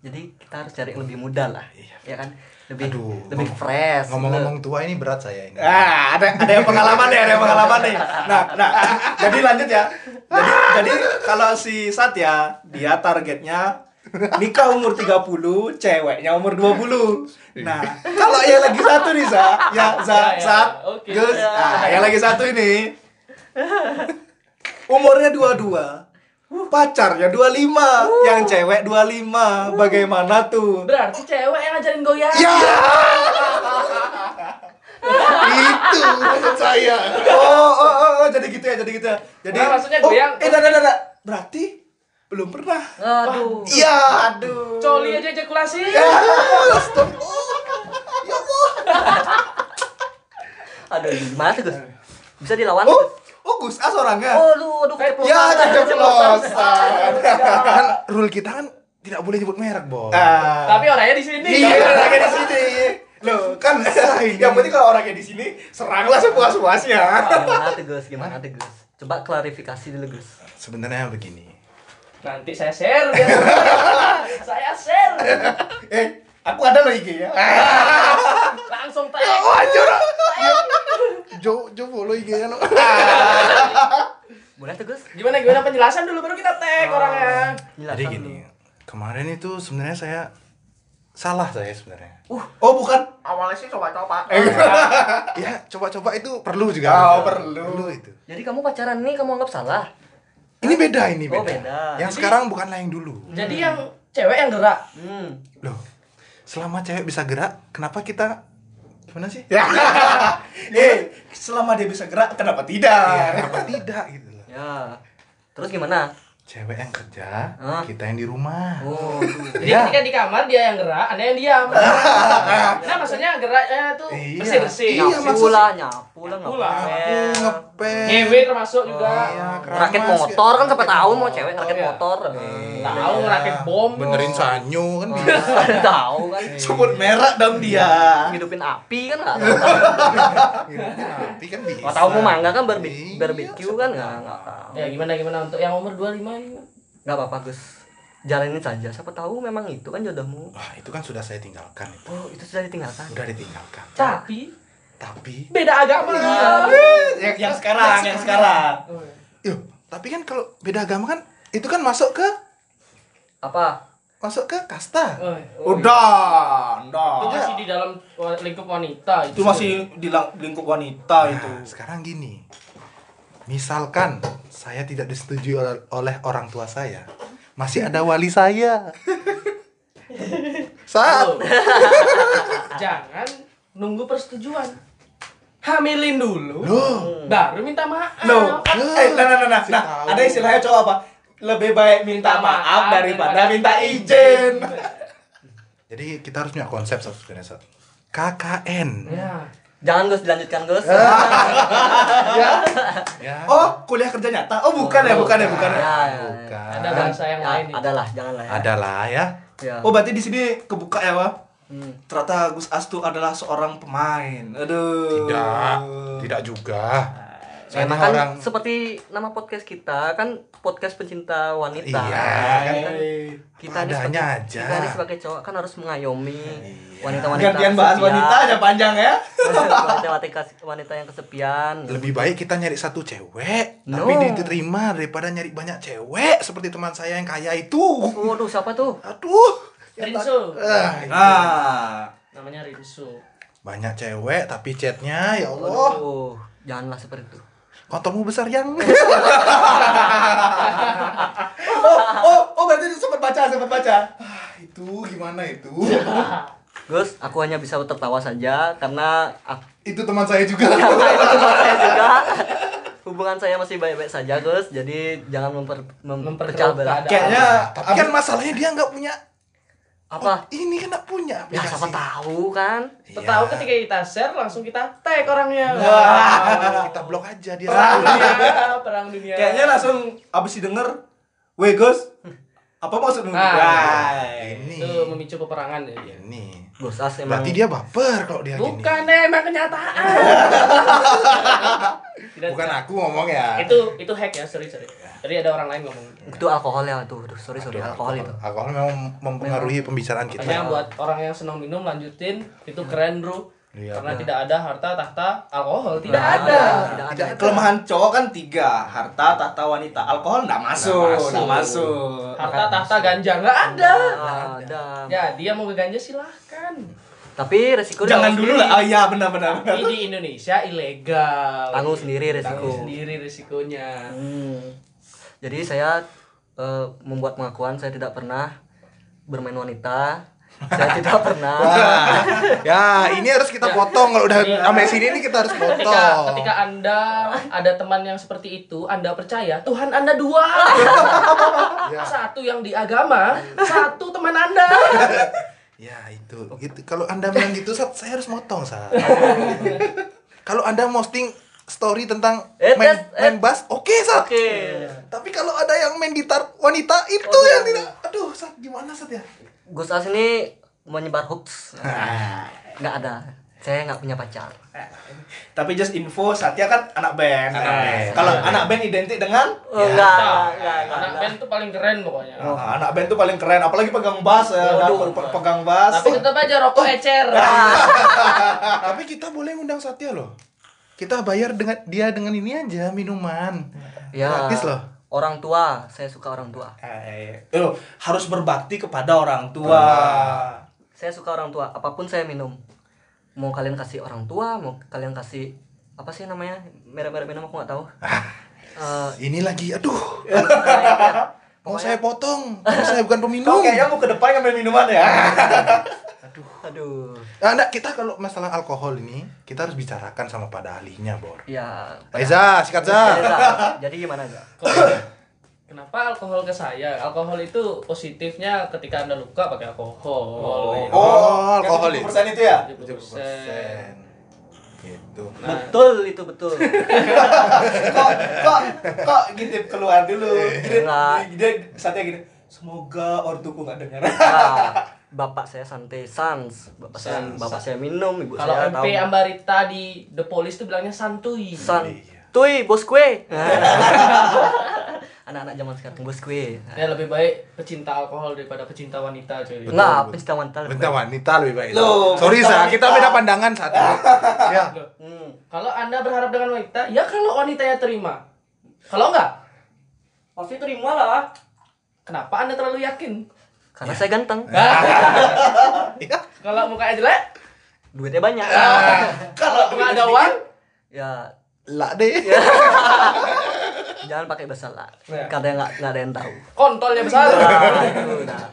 [SPEAKER 1] Jadi kita harus cari yang lebih muda lah. Ya kan? Lebih
[SPEAKER 2] Iya. Aduh,
[SPEAKER 1] lebih
[SPEAKER 2] ngom-
[SPEAKER 1] fresh.
[SPEAKER 2] ngomong-ngomong tua ini berat saya ini
[SPEAKER 3] Ah, ada ada yang pengalaman nih, ada yang pengalaman nih. Nah, nah, jadi lanjut ya. Jadi, jadi kalau si Satya, dia targetnya nikah umur 30, ceweknya umur 20. Nah, kalau yang lagi satu nih, Sa, ya Za,
[SPEAKER 4] Ya, ya,
[SPEAKER 3] Sat,
[SPEAKER 4] oke.
[SPEAKER 3] Gus. Nah, yang lagi satu ini umurnya 22. Pacarnya 25, yang cewek 25. Bagaimana tuh?
[SPEAKER 4] Berarti cewek yang ngajarin goyang.
[SPEAKER 2] ya itu maksud saya
[SPEAKER 3] oh, oh, oh, oh, jadi gitu ya, jadi gitu ya. Jadi
[SPEAKER 4] Nah, maksudnya
[SPEAKER 3] oh,
[SPEAKER 4] goyang. Oh.
[SPEAKER 3] Eh, enggak, enggak, enggak. Berarti belum pernah.
[SPEAKER 1] Aduh.
[SPEAKER 2] iya aduh
[SPEAKER 4] Coli aja ejakulasi.
[SPEAKER 1] Aduh, gimana tuh, Gus? Bisa dilawan?
[SPEAKER 3] Oh,
[SPEAKER 1] Gus?
[SPEAKER 3] oh Gus As orangnya.
[SPEAKER 1] Aduh, aduh, keceplosan.
[SPEAKER 3] ya, keceplosan.
[SPEAKER 2] kan rule kita kan tidak boleh nyebut merek bos
[SPEAKER 3] Ah.
[SPEAKER 4] Tapi orangnya di sini.
[SPEAKER 3] iya, orangnya di sini. Loh, kan yang penting kalau orangnya di sini seranglah sepuas-puasnya.
[SPEAKER 1] Gimana tuh, Gus? Gimana tuh, Gus? Coba klarifikasi dulu, Gus.
[SPEAKER 2] sebenarnya begini
[SPEAKER 4] Nanti saya share. biar- saya share.
[SPEAKER 3] eh, aku ada loh IG-nya.
[SPEAKER 4] Langsung tag.
[SPEAKER 2] Jo Jo kan, follow IG-nya no.
[SPEAKER 1] Boleh tuh, Gus?
[SPEAKER 4] Gimana gimana penjelasan dulu baru kita tag
[SPEAKER 2] Oh.
[SPEAKER 4] orangnya.
[SPEAKER 1] Jelaskan
[SPEAKER 2] Jadi
[SPEAKER 1] dulu.
[SPEAKER 2] gini, kemarin itu sebenarnya saya salah saya sebenarnya.
[SPEAKER 3] Oh, bukan.
[SPEAKER 4] Awalnya sih coba-coba.
[SPEAKER 2] Ya, coba-coba itu perlu juga.
[SPEAKER 3] Oh,
[SPEAKER 2] Betul.
[SPEAKER 3] perlu.
[SPEAKER 2] itu.
[SPEAKER 1] Jadi kamu pacaran nih kamu anggap salah?
[SPEAKER 2] Ini beda ini beda.
[SPEAKER 1] Oh, beda.
[SPEAKER 2] Yang
[SPEAKER 4] Jadi-
[SPEAKER 2] sekarang bukanlah yang dulu.
[SPEAKER 4] Jadi yang cewek yang gerak.
[SPEAKER 1] Hmm.
[SPEAKER 2] Loh. Selama cewek bisa gerak, kenapa kita gimana sih?
[SPEAKER 3] eh, selama dia bisa gerak, kenapa
[SPEAKER 2] Ya,
[SPEAKER 3] tidak?
[SPEAKER 2] kenapa tidak gitu loh.
[SPEAKER 1] Ya. Terus gimana?
[SPEAKER 2] Cewek yang kerja,
[SPEAKER 1] Hah?
[SPEAKER 2] kita yang di rumah.
[SPEAKER 1] Oh.
[SPEAKER 4] Jadi
[SPEAKER 2] Ya.
[SPEAKER 4] ketika di kamar dia yang gerak, anda yang diam. nah maksudnya geraknya tuh
[SPEAKER 2] Iya.
[SPEAKER 4] bersih bersih.
[SPEAKER 2] Iya,
[SPEAKER 1] nyapu
[SPEAKER 2] maksud-
[SPEAKER 1] lah, nyapu lah,
[SPEAKER 4] Nyapu lah.
[SPEAKER 1] ngepel.
[SPEAKER 2] ngepel.
[SPEAKER 4] Ngewe termasuk juga.
[SPEAKER 2] Iya, keramas,
[SPEAKER 1] Rakit
[SPEAKER 2] kayak-
[SPEAKER 1] motor kan siapa tahu mau cewek rakit
[SPEAKER 4] ya.
[SPEAKER 1] motor. Eh,
[SPEAKER 4] Tahu rakit bom.
[SPEAKER 2] Iya. Benerin sanyo kan bisa.
[SPEAKER 1] Nggak tahu kan.
[SPEAKER 3] Sebut merah dong dia.
[SPEAKER 1] Ngidupin api kan nggak tahu.
[SPEAKER 2] Tapi kan bisa.
[SPEAKER 1] Nggak tahu mau mangga kan barbe-
[SPEAKER 2] Iya,
[SPEAKER 1] barbecue kan nggak nggak tahu.
[SPEAKER 4] Ya gimana gimana untuk yang umur 25 ini. kan
[SPEAKER 1] Nggak apa-apa Gus. Jalanin saja. Siapa tahu memang itu kan jodohmu.
[SPEAKER 2] Wah, itu kan sudah saya tinggalkan itu.
[SPEAKER 1] Oh itu sudah ditinggalkan.
[SPEAKER 2] Udah ditinggalkan.
[SPEAKER 4] Tapi
[SPEAKER 2] Tapi
[SPEAKER 4] beda agama.
[SPEAKER 2] Iya.
[SPEAKER 4] Iya.
[SPEAKER 3] yang, yang sekarang, yang sekarang.
[SPEAKER 2] Yo, tapi kan kalau beda agama kan itu kan masuk ke
[SPEAKER 1] Apa?
[SPEAKER 2] masuk ke kasta.
[SPEAKER 4] Oh, oh.
[SPEAKER 3] Udah,
[SPEAKER 4] Itu
[SPEAKER 3] udah.
[SPEAKER 4] masih di dalam wa- lingkup wanita
[SPEAKER 3] Itu masih di lang- lingkup wanita Oh, itu.
[SPEAKER 2] Nah, sekarang gini. Misalkan saya tidak disetujui ol- oleh orang tua saya, masih ada wali saya.
[SPEAKER 4] Oh.
[SPEAKER 2] Saat
[SPEAKER 4] Jangan nunggu persetujuan. Hamilin dulu.
[SPEAKER 2] Loh.
[SPEAKER 4] Baru minta maaf.
[SPEAKER 3] Loh, eh, nah, nah, nah, nah, nah, ada istilahnya cowok apa? Lebih baik minta
[SPEAKER 4] Minta maaf
[SPEAKER 3] maaf daripada
[SPEAKER 4] daripada
[SPEAKER 3] minta
[SPEAKER 4] minta
[SPEAKER 3] izin.
[SPEAKER 2] Jadi kita harus punya konsep Sat, sebenarnya Sat. KKN.
[SPEAKER 4] Ya.
[SPEAKER 1] Jangan Gus dilanjutkan Gus.
[SPEAKER 2] Eh, Ya.
[SPEAKER 3] Oh, kuliah kerja nyata. Oh, bukan ya, bukan ya, bukan ya.
[SPEAKER 1] Ya,
[SPEAKER 2] Ah.
[SPEAKER 1] ya, ya.
[SPEAKER 2] bukan.
[SPEAKER 4] Ada bahasa yang
[SPEAKER 1] Ya,
[SPEAKER 4] lain nih.
[SPEAKER 1] Adalah, janganlah. ya.
[SPEAKER 2] Adalah ya.
[SPEAKER 1] Ya.
[SPEAKER 3] Oh, berarti di sini kebuka ya, Wah.
[SPEAKER 1] Hmm.
[SPEAKER 3] Ternyata Gus Astu adalah seorang pemain. Aduh.
[SPEAKER 2] Tidak. Tidak juga. Saya
[SPEAKER 1] Emang kan
[SPEAKER 2] ini orang
[SPEAKER 1] seperti nama podcast kita kan podcast pencinta wanita.
[SPEAKER 2] Iya,
[SPEAKER 1] Kan
[SPEAKER 2] kan.
[SPEAKER 1] kita ini
[SPEAKER 2] Apa
[SPEAKER 1] sebagai,
[SPEAKER 2] adanya aja. Iya.
[SPEAKER 1] kita ini sebagai cowok kan harus mengayomi wanita-wanita.
[SPEAKER 3] Gantian bahas
[SPEAKER 1] kesepian.
[SPEAKER 3] wanita aja panjang ya.
[SPEAKER 1] wanita-wanita wanita yang kesepian.
[SPEAKER 2] lebih baik kita nyari satu cewek
[SPEAKER 1] No.
[SPEAKER 2] tapi diterima daripada nyari banyak cewek seperti teman saya yang kaya itu
[SPEAKER 1] Waduh, siapa tuh?
[SPEAKER 2] aduh Ya,
[SPEAKER 4] Rinso.
[SPEAKER 2] ah,
[SPEAKER 3] Nah,
[SPEAKER 4] Namanya Rinso.
[SPEAKER 2] banyak cewek tapi chatnya ya Allah
[SPEAKER 1] Waduh, janganlah seperti itu.
[SPEAKER 2] kontolmu besar yang
[SPEAKER 3] oh, oh, oh berarti sempat baca, sempat baca. Ah, itu gimana itu?
[SPEAKER 1] Terus aku hanya bisa tertawa saja karena aku,
[SPEAKER 2] Itu teman saya juga.
[SPEAKER 1] saya juga hubungan saya masih baik-baik saja, Gus. Jadi jangan memper, mem-
[SPEAKER 4] Memperkeruh
[SPEAKER 1] pecah belah.
[SPEAKER 4] keadaan.
[SPEAKER 3] Kayaknya
[SPEAKER 2] Tapi kan masalahnya dia nggak punya.
[SPEAKER 1] Apa?
[SPEAKER 2] Ini kan nggak punya
[SPEAKER 1] Ya
[SPEAKER 2] aplikasi.
[SPEAKER 1] siapa tahu kan?
[SPEAKER 4] Tahu ketika kita share langsung kita tag orangnya.
[SPEAKER 2] Wah, kita blok aja dia.
[SPEAKER 4] Perang dunia, perang dunia.
[SPEAKER 3] Kayaknya langsung abis didengar, weh Gus, apa maksudmu?
[SPEAKER 4] Ah.
[SPEAKER 3] Wah.
[SPEAKER 2] ini.
[SPEAKER 4] itu memicu peperangan ya.
[SPEAKER 2] Ini.
[SPEAKER 1] Gosas emang
[SPEAKER 2] Berarti dia baper kalau dia Iya, gini.
[SPEAKER 4] Bukan eh. deh, emang kenyataan. Tidak,
[SPEAKER 2] Bukan Iya. aku ngomong ya.
[SPEAKER 4] itu itu hack ya, sorry sorry. Tadi ada orang lain ngomong.
[SPEAKER 2] Iya.
[SPEAKER 1] itu alkohol ya tuh. Aduh, sorry sorry
[SPEAKER 2] Aduh,
[SPEAKER 1] alkohol itu.
[SPEAKER 2] Alkohol memang mempengaruhi pembicaraan kita.
[SPEAKER 4] Makanya buat orang yang senang minum lanjutin itu keren bro.
[SPEAKER 2] Iya,
[SPEAKER 4] Karena tidak ada harta tahta alkohol tidak
[SPEAKER 1] Nah,
[SPEAKER 4] ada.
[SPEAKER 1] Tidak ada.
[SPEAKER 3] Tidak, kelemahan cowok kan tiga harta tahta wanita alkohol nggak masuk
[SPEAKER 2] masuk.
[SPEAKER 3] nggak masuk
[SPEAKER 4] Harta tahta ganja nggak ada.
[SPEAKER 1] Nggak Ah, ada.
[SPEAKER 4] Ya dia mau ke ganja silahkan.
[SPEAKER 1] Tapi resiko dia
[SPEAKER 3] jangan
[SPEAKER 1] harus
[SPEAKER 3] dulu
[SPEAKER 1] sendiri.
[SPEAKER 3] lah oh iya benar benar benar.
[SPEAKER 4] Tapi di Indonesia ilegal.
[SPEAKER 1] Tanggung sendiri resiko.
[SPEAKER 4] Tanggung sendiri risikonya.
[SPEAKER 1] Hmm. Jadi saya eh, membuat pengakuan saya tidak pernah bermain wanita. Saya tidak pernah.
[SPEAKER 2] Wah, ya ini harus kita potong kalau udah sampai sini ini kita harus
[SPEAKER 4] Ketika,
[SPEAKER 2] potong.
[SPEAKER 4] ketika anda ada teman yang seperti itu, anda percaya Tuhan anda dua,
[SPEAKER 2] Ya. Iya.
[SPEAKER 4] satu yang di agama, satu teman anda.
[SPEAKER 2] Ya itu. Gitu. Kalau anda bilang gitu, Sat, saya harus motong Sat. kalau anda posting story tentang
[SPEAKER 1] Eh,
[SPEAKER 2] main,
[SPEAKER 1] eh,
[SPEAKER 2] main bass, oke Sat.
[SPEAKER 1] Oke.
[SPEAKER 2] Tapi kalau ada yang main gitar wanita itu yang tidak. Aduh Sat, gimana Sat ya?
[SPEAKER 1] Gus As ini menyebar hoax. Nggak ada. Saya nggak punya pacar.
[SPEAKER 3] tapi just info Satya kan anak band
[SPEAKER 2] Anak band.
[SPEAKER 3] kalau anak band identik dengan
[SPEAKER 1] Oh, enggak,
[SPEAKER 4] Anak band tuh paling keren pokoknya.
[SPEAKER 3] ah, anak band tuh paling keren apalagi pegang bass ya kan?
[SPEAKER 4] Waduh.
[SPEAKER 3] Pe- pegang bass
[SPEAKER 4] Tapi tetap aja rokok ecer.
[SPEAKER 2] Tapi kita boleh ngundang Satya loh. Kita bayar dengan dia dengan ini aja minuman.
[SPEAKER 1] Ya.
[SPEAKER 2] Gratis loh.
[SPEAKER 1] Orang tua, saya suka orang tua.
[SPEAKER 3] Eh, eh, loh, harus berbakti kepada orang tua
[SPEAKER 1] Saya suka orang tua. Apapun saya minum. Mau kalian kasih orang tua, mau kalian kasih apa sih namanya? Merek-merek minum aku nggak tahu. Eh,
[SPEAKER 2] Ini lagi, aduh. Mau
[SPEAKER 1] Pokoknya-
[SPEAKER 2] saya potong, mau saya bukan
[SPEAKER 3] kau
[SPEAKER 2] peminum.
[SPEAKER 3] kayaknya mau ke depan ngambil minuman ya
[SPEAKER 1] aduh.
[SPEAKER 2] Nah, enggak, kita kalau masalah alkohol ini, kita harus bicarakan sama pada ahlinya, Bor.
[SPEAKER 1] Ya.
[SPEAKER 2] Iya, Aiza, sikat Za.
[SPEAKER 1] Iya, Jadi gimana, Za?
[SPEAKER 4] Kenapa alkohol ke saya? Alkohol itu positifnya ketika anda luka pakai alkohol.
[SPEAKER 2] Oh, alkohol
[SPEAKER 3] yang
[SPEAKER 2] ya?
[SPEAKER 3] 70% itu ya
[SPEAKER 4] iya. 70%.
[SPEAKER 2] Gitu.
[SPEAKER 4] Nah,
[SPEAKER 1] Betul itu betul.
[SPEAKER 3] kok kok kok gitu keluar dulu
[SPEAKER 2] Iya.
[SPEAKER 3] Gini-
[SPEAKER 1] Enggak.
[SPEAKER 3] dia saatnya gini semoga ortuku nggak dengar
[SPEAKER 1] Nah, bapak saya santai sans, bapak saya
[SPEAKER 4] Sans.
[SPEAKER 1] bapak saya minum, ibu
[SPEAKER 4] Kalau
[SPEAKER 1] saya tahu.
[SPEAKER 4] MP Ambarita di The Police tuh bilangnya santuy.
[SPEAKER 1] San.
[SPEAKER 2] Iya.
[SPEAKER 1] Tui, bos kue. Anak-anak zaman sekarang bos kue.
[SPEAKER 4] Ya lebih baik pecinta alkohol daripada pecinta wanita cuy.
[SPEAKER 2] Betul,
[SPEAKER 1] Enggak,
[SPEAKER 2] betul.
[SPEAKER 1] pencinta wanita. lebih
[SPEAKER 2] Bentar
[SPEAKER 1] baik.
[SPEAKER 2] wanita lebih baik.
[SPEAKER 3] Loh,
[SPEAKER 2] Sorry
[SPEAKER 3] wanita,
[SPEAKER 2] Za, kita
[SPEAKER 3] wanita.
[SPEAKER 2] beda pandangan saat ini. ya.
[SPEAKER 1] Hmm.
[SPEAKER 4] Kalau Anda berharap dengan wanita, ya kalau wanitanya terima. Kalau enggak,
[SPEAKER 1] Pasti terima lah.
[SPEAKER 4] kenapa Anda terlalu yakin?
[SPEAKER 1] Karena saya ganteng.
[SPEAKER 2] Iya.
[SPEAKER 4] Kalau mukanya jelek,
[SPEAKER 1] Duitnya banyak.
[SPEAKER 4] kalau nggak ada uang,
[SPEAKER 1] Ya,
[SPEAKER 2] Lah deh.
[SPEAKER 3] Ya,
[SPEAKER 1] jangan pakai bahasa lah.
[SPEAKER 4] Ya.
[SPEAKER 1] Karena nggak nggak ada yang tahu.
[SPEAKER 4] kontolnya besar.
[SPEAKER 1] Nah, itu, nah.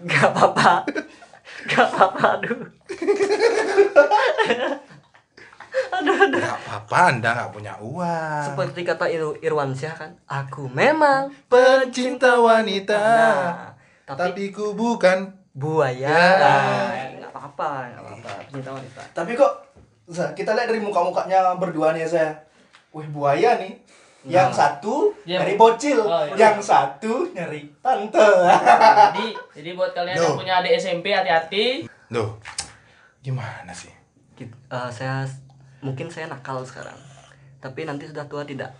[SPEAKER 1] Nggak apa-apa. Nggak apa-apa, aduh.
[SPEAKER 2] Enggak apa-apa, Anda enggak punya uang.
[SPEAKER 1] Seperti kata Ir Irwansyah kan, aku memang
[SPEAKER 2] pencinta wanita.
[SPEAKER 1] Nah,
[SPEAKER 2] tapi...
[SPEAKER 1] tapi,
[SPEAKER 2] ku bukan.
[SPEAKER 1] buaya.
[SPEAKER 2] Ya.
[SPEAKER 1] Nah, nggak apa-apa, nggak apa-apa. Pencinta wanita.
[SPEAKER 3] tapi kok Za, kita lihat dari muka-mukanya berdua nih saya wih buaya nih
[SPEAKER 2] Nah.
[SPEAKER 3] yang satu
[SPEAKER 4] Iya.
[SPEAKER 3] nyari bocil,
[SPEAKER 4] Oh, iya.
[SPEAKER 3] yang satu nyari tante.
[SPEAKER 4] jadi, jadi buat kalian yang
[SPEAKER 2] No.
[SPEAKER 4] punya adik SMP hati-hati.
[SPEAKER 2] Loh. Gimana sih?
[SPEAKER 1] Gitu. Eh, saya mungkin saya nakal sekarang. Tapi nanti sudah tua tidak.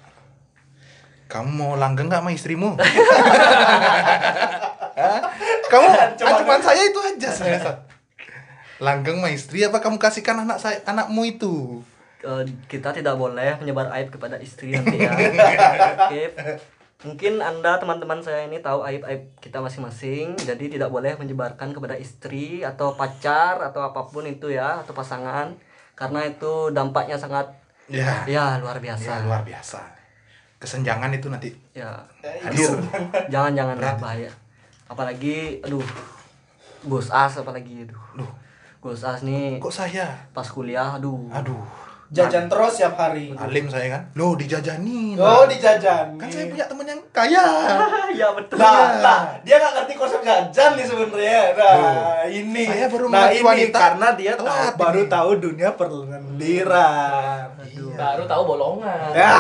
[SPEAKER 2] Kamu mau langgeng nggak sama istrimu? Hah? kamu ancaman saya itu aja saya. Sat. Langgeng sama istri apa kamu kasihkan anak saya anakmu itu?
[SPEAKER 1] Eh, kita tidak boleh menyebar aib kepada istri nanti ya. Oke. Mungkin Anda teman-teman saya ini tahu aib-aib kita masing-masing, jadi tidak boleh menyebarkan kepada istri atau pacar atau apapun itu ya, atau pasangan karena itu dampaknya sangat
[SPEAKER 2] Ya,
[SPEAKER 1] ya luar
[SPEAKER 2] ya,
[SPEAKER 1] biasa.
[SPEAKER 2] luar biasa. Kesenjangan itu nanti
[SPEAKER 1] Ya.
[SPEAKER 2] hadir.
[SPEAKER 1] Jangan-jangan lah bahaya. Apalagi aduh Gus As apalagi aduh.
[SPEAKER 2] Duh.
[SPEAKER 1] Gus As nih
[SPEAKER 2] Kok saya?
[SPEAKER 1] pas kuliah aduh.
[SPEAKER 2] Aduh,
[SPEAKER 3] Jajan terus setiap hari.
[SPEAKER 2] alim saya kan. Loh, dijajanin.
[SPEAKER 3] Oh, dijajan.
[SPEAKER 2] Kan saya punya temen yang kaya.
[SPEAKER 1] ya betul.
[SPEAKER 3] Nah, nah, dia nggak ngerti konsep jajan nih sebenarnya. Nah,
[SPEAKER 2] Loh,
[SPEAKER 3] ini.
[SPEAKER 2] saya baru
[SPEAKER 3] nah,
[SPEAKER 2] mengerti
[SPEAKER 3] ini
[SPEAKER 2] wanita
[SPEAKER 3] karena dia
[SPEAKER 1] Oh,
[SPEAKER 3] tahu,
[SPEAKER 2] telat
[SPEAKER 3] baru
[SPEAKER 2] ini.
[SPEAKER 3] tahu dunia perlendiran.
[SPEAKER 2] Aduh.
[SPEAKER 4] Baru tahu bolongan.
[SPEAKER 3] Ya.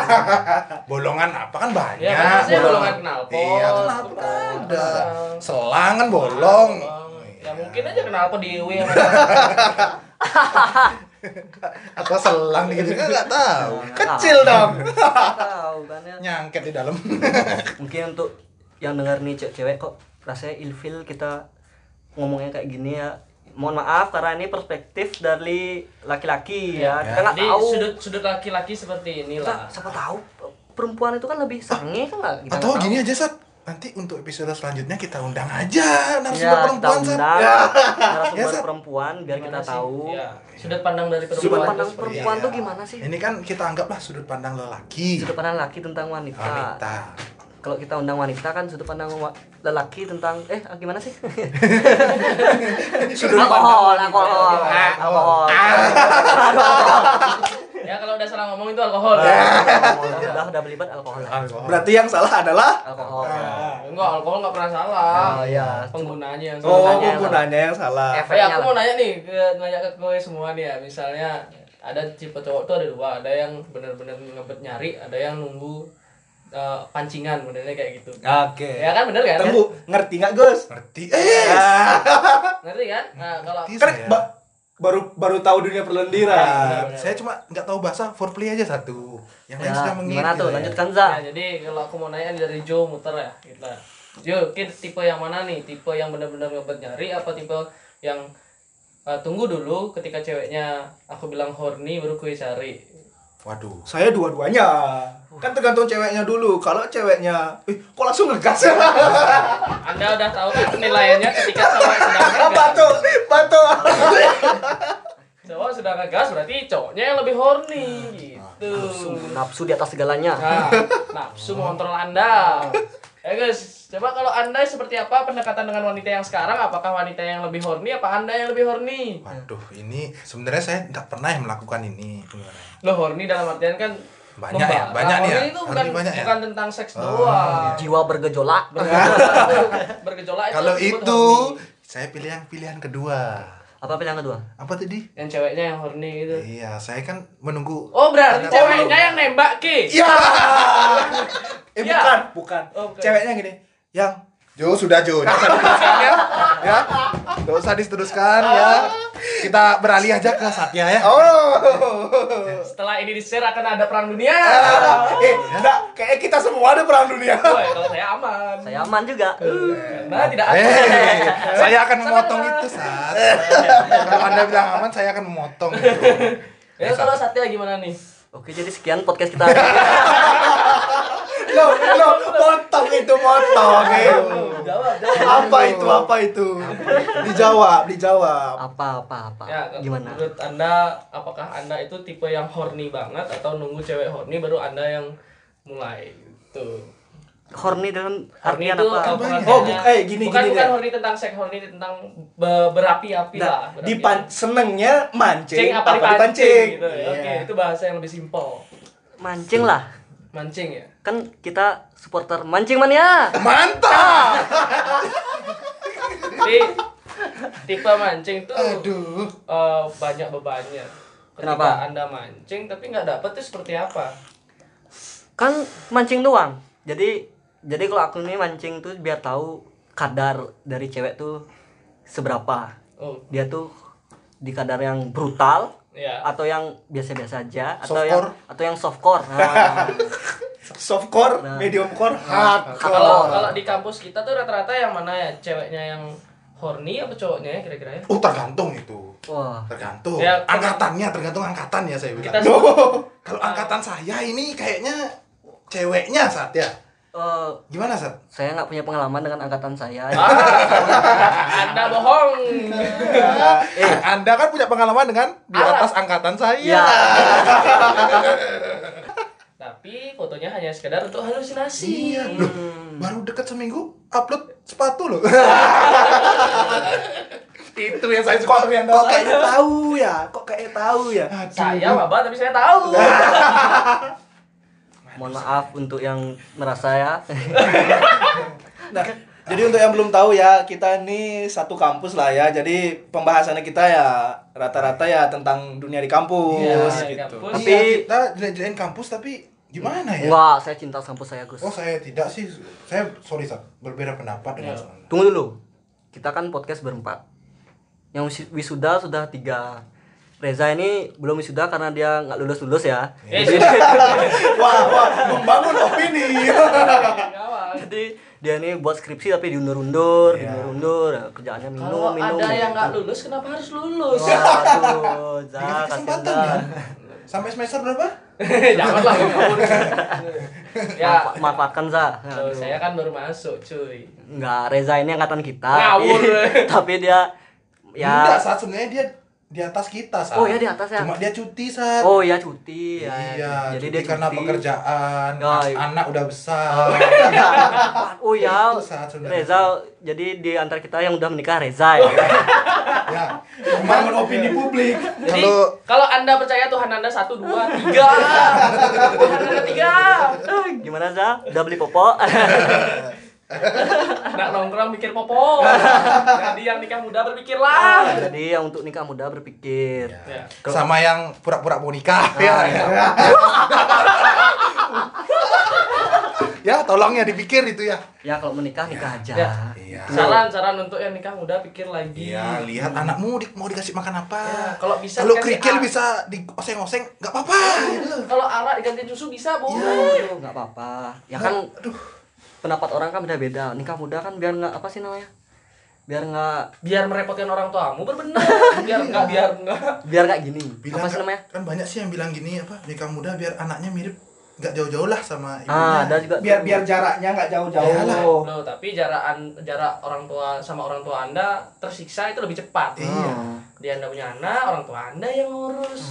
[SPEAKER 2] Bolongan apa kan banyak.
[SPEAKER 4] Ya, kan saya
[SPEAKER 2] bolongan.
[SPEAKER 4] bolongan knalpot.
[SPEAKER 2] Iya, kenapa
[SPEAKER 4] bolongan
[SPEAKER 2] ada?
[SPEAKER 4] belakang.
[SPEAKER 2] Selang kan bolong.
[SPEAKER 4] Bolong. Ya mungkin aja kenalpot di W yang
[SPEAKER 2] Atau selang gitu kan nggak tahu.
[SPEAKER 4] Nah,
[SPEAKER 3] Kecil dong.
[SPEAKER 1] Tahu kan ya.
[SPEAKER 2] Nyangket di dalam.
[SPEAKER 1] Mungkin untuk yang dengar nih cewek-cewek kok rasanya ilfil kita ngomongnya kayak gini ya. Mohon maaf karena ini perspektif dari laki-laki ya. Kita nggak
[SPEAKER 4] Iya. Jadi
[SPEAKER 1] tahu.
[SPEAKER 4] sudut sudut laki-laki seperti
[SPEAKER 1] Kita
[SPEAKER 4] inilah.
[SPEAKER 1] siapa tahu perempuan itu kan lebih sange kan nggak? Kita
[SPEAKER 2] Atau
[SPEAKER 1] nggak
[SPEAKER 2] gini
[SPEAKER 1] tahu.
[SPEAKER 2] aja, Sat. Nanti untuk episode selanjutnya kita undang aja narasumber
[SPEAKER 1] Ya, kita
[SPEAKER 2] perempuan, Sat.
[SPEAKER 1] undang
[SPEAKER 2] Ya,
[SPEAKER 1] narasumber
[SPEAKER 2] Sat.
[SPEAKER 1] perempuan biar kita
[SPEAKER 4] Gimana sih?
[SPEAKER 1] tahu.
[SPEAKER 4] Ya, sudut pandang dari perempuan.
[SPEAKER 1] Sudut
[SPEAKER 4] itu
[SPEAKER 1] pandang
[SPEAKER 4] seperti
[SPEAKER 2] Iya.
[SPEAKER 1] perempuan tuh gimana sih?
[SPEAKER 2] Ini kan kita anggaplah sudut pandang lelaki.
[SPEAKER 1] Sudut pandang laki tentang wanita.
[SPEAKER 2] wanita.
[SPEAKER 1] Kalau kita undang wanita kan sudut pandang wa- lelaki tentang eh ah, gimana sih?
[SPEAKER 2] Sudut
[SPEAKER 1] alkohol, alkohol,
[SPEAKER 2] Ah,
[SPEAKER 1] alkohol.
[SPEAKER 4] Ya kalau udah salah ngomong itu alkohol.
[SPEAKER 1] Alkohol. Udah udah belibet alkohol.
[SPEAKER 2] Alkohol.
[SPEAKER 3] Berarti yang salah adalah
[SPEAKER 1] Alkohol.
[SPEAKER 2] Iya.
[SPEAKER 4] Nah, Enggak, alkohol enggak pernah salah.
[SPEAKER 1] Oh, Ah. iya.
[SPEAKER 4] Penggunaannya yang
[SPEAKER 3] Oh,
[SPEAKER 4] salah.
[SPEAKER 1] Penggunaannya.
[SPEAKER 3] penggunaannya yang salah.
[SPEAKER 1] F.
[SPEAKER 4] Eh, aku mau nanya nih, ke, nanya ke gue semua nih ya. Misalnya ada tipe cowok tuh ada dua, ada yang bener-bener ngebet nyari, ada yang nunggu eh, pancingan, benernya kayak gitu.
[SPEAKER 3] Oke.
[SPEAKER 1] Iya.
[SPEAKER 4] Ya kan bener kan?
[SPEAKER 3] Tunggu, ngerti Iya, nggak, Gus?
[SPEAKER 2] Ngerti. Eh,
[SPEAKER 4] Ngerti kan? Nah, kalau
[SPEAKER 2] ngerti
[SPEAKER 3] Kan
[SPEAKER 2] saya.
[SPEAKER 3] ba- baru baru tahu dunia
[SPEAKER 2] Iya,
[SPEAKER 3] perlendiran.
[SPEAKER 4] benar.
[SPEAKER 2] saya cuma nggak tahu bahasa foreplay aja satu. Yang
[SPEAKER 1] Ya,
[SPEAKER 2] lain sudah mengira.
[SPEAKER 1] gimana tuh? Lanjutkan Za.
[SPEAKER 4] ya, jadi kalau aku mau nanya dari Joe muter ya kita. Joe, kid tipe yang mana nih? Tipe yang bener-bener ngebet nyari apa tipe yang eh, tunggu dulu ketika ceweknya aku bilang horny baru kue cari.
[SPEAKER 2] Waduh.
[SPEAKER 3] Saya dua-duanya. Kan tergantung ceweknya dulu. Kalau ceweknya, ih, kok langsung ngegas?
[SPEAKER 4] Anda udah tahu kan penilaiannya ketika cowok sedang
[SPEAKER 3] Batu,
[SPEAKER 4] ngegas.
[SPEAKER 3] batu.
[SPEAKER 4] Cowok sedang ngegas berarti cowoknya yang lebih horny gitu.
[SPEAKER 1] Nafsu, nafsu di atas segalanya.
[SPEAKER 4] Nah, nafsu mengontrol Anda. Ya guys, coba kalau Anda seperti apa pendekatan dengan wanita yang sekarang? Apakah wanita yang lebih horny apa Anda yang lebih horny?
[SPEAKER 2] Waduh, ini sebenarnya saya nggak pernah yang melakukan ini. sebenarnya.
[SPEAKER 4] Loh horny dalam artian kan
[SPEAKER 2] Banyak ya, banyak nih ya.
[SPEAKER 4] Horny itu
[SPEAKER 2] Horny
[SPEAKER 4] bukan,
[SPEAKER 2] banyak ya. gitu.
[SPEAKER 4] bukan tentang seks doang.
[SPEAKER 1] Jiwa bergejolak.
[SPEAKER 4] Bergejolak itu, bergejolak itu
[SPEAKER 2] Kalau
[SPEAKER 4] disebut
[SPEAKER 2] itu,
[SPEAKER 4] horny.
[SPEAKER 2] saya pilih yang pilihan kedua.
[SPEAKER 1] Apa pilihan kedua?
[SPEAKER 2] Apa tadi?
[SPEAKER 4] yang ceweknya yang horny gitu.
[SPEAKER 2] Iya, saya kan menunggu.
[SPEAKER 4] Oh berarti
[SPEAKER 2] Oh,
[SPEAKER 4] ceweknya yang nembak ki.
[SPEAKER 2] Iya.
[SPEAKER 3] Eh,
[SPEAKER 4] Ya.
[SPEAKER 3] bukan, bukan.
[SPEAKER 4] Oh, bukan.
[SPEAKER 3] Ceweknya gini, yang
[SPEAKER 2] Jo sudah Jo, nggak usah diteruskan ya. ya. Nggak usah diteruskan ya. Kita beralih aja ke Satya ya.
[SPEAKER 4] Oh.
[SPEAKER 3] Oh.
[SPEAKER 4] Setelah ini di share akan ada perang dunia.
[SPEAKER 2] Iya.
[SPEAKER 3] eh, enggak, kayak kita semua ada perang dunia.
[SPEAKER 4] Woi, kalau saya aman.
[SPEAKER 1] Saya aman juga.
[SPEAKER 2] Iya.
[SPEAKER 4] Nah, tidak aman.
[SPEAKER 2] Eh, saya akan
[SPEAKER 4] Sama-sama.
[SPEAKER 2] memotong itu saat. Kalau anda bilang aman, saya akan memotong. itu.
[SPEAKER 4] Ya kalau Satya gimana nih?
[SPEAKER 1] Oke, jadi sekian podcast kita. hari ini.
[SPEAKER 3] Lo, lo, motong itu motong. eh.
[SPEAKER 4] Jawab, jawab.
[SPEAKER 3] Apa itu? Apa itu? Dijawab, dijawab.
[SPEAKER 1] Apa apa apa.
[SPEAKER 4] Ya, kalau
[SPEAKER 1] Gimana?
[SPEAKER 4] menurut Anda apakah Anda itu tipe yang horny banget atau nunggu cewek horny baru Anda yang mulai gitu.
[SPEAKER 1] Horny dalam
[SPEAKER 4] Horny
[SPEAKER 1] artian
[SPEAKER 4] itu
[SPEAKER 1] apa?
[SPEAKER 4] pengertiannya-
[SPEAKER 3] Oh, bu- eh, gini,
[SPEAKER 4] bukan,
[SPEAKER 3] gini
[SPEAKER 4] bukan
[SPEAKER 3] deh.
[SPEAKER 4] horny tentang seks, horny tentang be- berapi-api lah.
[SPEAKER 3] Nah,
[SPEAKER 4] berapi-api.
[SPEAKER 3] dipan senengnya mancing,
[SPEAKER 4] Iya. Cing apa dipancing gitu. ya. Oke,
[SPEAKER 3] Iya.
[SPEAKER 4] itu bahasa yang lebih simpel.
[SPEAKER 1] Mancing lah.
[SPEAKER 4] Mancing ya.
[SPEAKER 1] Kan kita supporter mancing mania.
[SPEAKER 2] Mantap.
[SPEAKER 4] Jadi tipe mancing tuh
[SPEAKER 2] Aduh.
[SPEAKER 4] eh, banyak bebannya. Ketika
[SPEAKER 1] Kenapa?
[SPEAKER 4] Anda mancing tapi nggak dapet tuh seperti apa?
[SPEAKER 1] kan mancing doang jadi jadi kalau aku ini mancing tuh biar tahu kadar dari cewek tuh seberapa
[SPEAKER 4] Oh,
[SPEAKER 1] dia tuh di kadar yang brutal
[SPEAKER 4] ya.
[SPEAKER 1] atau yang biasa-biasa aja atau yang
[SPEAKER 2] Softcore.
[SPEAKER 1] atau yang softcore nah,
[SPEAKER 3] Softcore,
[SPEAKER 1] Nah.
[SPEAKER 3] mediumcore, hardcore.
[SPEAKER 4] Kalau kalau di kampus kita tuh rata-rata yang mana ya? Ceweknya yang horny apa cowoknya ya kira-kira ya?
[SPEAKER 2] Oh, tergantung itu.
[SPEAKER 1] wah
[SPEAKER 2] Tergantung.
[SPEAKER 4] Ya,
[SPEAKER 2] Angkatannya, tergantung angkatan ya saya
[SPEAKER 4] Kita
[SPEAKER 2] bilang. Kalau angkatan saya ini kayaknya ceweknya Sat ya.
[SPEAKER 1] eh,
[SPEAKER 2] Gimana Sat?
[SPEAKER 1] saya nggak punya pengalaman dengan angkatan saya
[SPEAKER 4] Ah, Anda bohong. Ya.
[SPEAKER 2] Eh, Anda kan punya pengalaman dengan di
[SPEAKER 4] Alas.
[SPEAKER 2] atas angkatan
[SPEAKER 1] ya
[SPEAKER 2] saya.
[SPEAKER 4] Tapi fotonya hanya sekedar untuk halusinasi.
[SPEAKER 2] Iya, loh, baru deket seminggu upload sepatu loh. Itu yang saya
[SPEAKER 3] kok
[SPEAKER 2] suka.
[SPEAKER 3] kok kayaknya tahu ya kok kayaknya tahu ya
[SPEAKER 4] Saya maba tapi saya tahu.
[SPEAKER 2] Nah.
[SPEAKER 1] Mohon maaf untuk yang merasa ya.
[SPEAKER 3] Nah, jadi untuk yang belum tahu ya, kita ini satu kampus lah ya. Jadi pembahasannya kita ya rata-rata ya tentang dunia di kampus
[SPEAKER 4] Iya, di
[SPEAKER 3] gitu.
[SPEAKER 4] kampus.
[SPEAKER 1] Tapi-
[SPEAKER 2] Iya, kita jelek-jelekin kampus tapi gimana ya?
[SPEAKER 1] Enggak, saya cinta kampus saya, Gus.
[SPEAKER 2] Oh saya tidak sih, saya sorry Sat. berbeda pendapat dengan
[SPEAKER 4] Iya.
[SPEAKER 2] Sat.
[SPEAKER 1] Tunggu dulu. Kita kan podcast berempat. Yang wis- wisuda sudah tiga. Reza ini belum wisuda karena dia nggak lulus-lulus ya.
[SPEAKER 4] Eh,
[SPEAKER 2] Nah.
[SPEAKER 3] Wah, wah, membangun opini.
[SPEAKER 1] Jadi dia ini buat skripsi tapi diundur-undur,
[SPEAKER 2] Iya.
[SPEAKER 1] diundur-undur. Ya, Kerjaannya minum,
[SPEAKER 4] Kalau
[SPEAKER 1] minum.
[SPEAKER 4] ada yang nggak lulus, kenapa harus lulus?
[SPEAKER 2] Oh.
[SPEAKER 1] Waduh,
[SPEAKER 2] Dikasih
[SPEAKER 1] Zah, kasihan
[SPEAKER 2] kesempatan
[SPEAKER 1] Zah.
[SPEAKER 2] ya. Sampai semester berapa?
[SPEAKER 4] Janganlah ngomong.
[SPEAKER 1] Manfa-
[SPEAKER 4] Ya,
[SPEAKER 1] Manfaatkan Zah. Aduh.
[SPEAKER 4] kalau saya kan baru masuk, cuy.
[SPEAKER 1] Enggak, Reza ini angkatan kita.
[SPEAKER 4] Ngawur.
[SPEAKER 1] tapi dia
[SPEAKER 2] Enggak,
[SPEAKER 1] ya
[SPEAKER 2] Sat sebenarnya dia di atas kita Sat.
[SPEAKER 1] Oh, iya, di atas ya.
[SPEAKER 2] Cuma dia cuti Sat.
[SPEAKER 1] Oh ya cuti ya.
[SPEAKER 2] Iya, jadi dia karena pekerjaan,
[SPEAKER 1] Ya,
[SPEAKER 2] an-
[SPEAKER 1] iya.
[SPEAKER 2] anak udah besar.
[SPEAKER 1] Oh ya,
[SPEAKER 2] Itu saat sudah
[SPEAKER 1] Reza. Jadi di antara kita yang udah menikah Reza ya.
[SPEAKER 2] ya,
[SPEAKER 4] Iya.
[SPEAKER 3] Membangun opini publik.
[SPEAKER 4] Jadi
[SPEAKER 2] Kalau-
[SPEAKER 4] kalau Anda percaya Tuhan Anda satu, dua, tiga, Tuhan Anda tiga,
[SPEAKER 1] Gimana Za? Udah beli popok?
[SPEAKER 4] nggak nongkrong mikir popo. Jadi yang nikah muda berpikirlah.
[SPEAKER 1] Jadi yang untuk nikah muda berpikir.
[SPEAKER 2] Iya.
[SPEAKER 4] Ya.
[SPEAKER 2] sama yang pura-pura mau nikah. ya, ya. ya, tolong ya dipikir itu ya.
[SPEAKER 1] Ya kalau menikah nikah aja.
[SPEAKER 4] Ya.
[SPEAKER 2] Iya.
[SPEAKER 4] Saran-saran untuk yang nikah muda pikir lagi.
[SPEAKER 2] Iya, lihat anakmu di- mau dikasih makan apa.
[SPEAKER 4] Ya, kalau bisa
[SPEAKER 2] kalau
[SPEAKER 4] dikasih
[SPEAKER 2] kerikil
[SPEAKER 4] a-
[SPEAKER 2] bisa dioseng-oseng, nggak apa-apa. gitu.
[SPEAKER 4] Kalau arak diganti susu bisa boleh.
[SPEAKER 2] Iya.
[SPEAKER 1] Aduh, nggak apa-apa. Ya kan pendapat orang kan beda-beda. Nikah muda kan biar nggak apa sih namanya? Biar nggak
[SPEAKER 4] Biar merepotkan orang tuamu berbenar.
[SPEAKER 2] Iya.
[SPEAKER 4] Biar nggak biar nggak.
[SPEAKER 1] biar nggak gini.
[SPEAKER 2] Bilang
[SPEAKER 1] apa sih
[SPEAKER 2] kan-
[SPEAKER 1] namanya?
[SPEAKER 2] Kan banyak sih yang bilang gini apa nikah muda biar anaknya mirip nggak jauh-jauh lah sama ibunya.
[SPEAKER 1] Ah, ada juga.
[SPEAKER 3] Biar
[SPEAKER 1] tuh.
[SPEAKER 3] biar jaraknya nggak
[SPEAKER 2] Iyalah.
[SPEAKER 3] jauh-jauh.
[SPEAKER 4] No, tapi jarakan jarak orang tua sama orang tua Anda tersiksa itu lebih cepat.
[SPEAKER 2] Iya.
[SPEAKER 4] Dia Anda punya anak, orang tua Anda yang ngurus.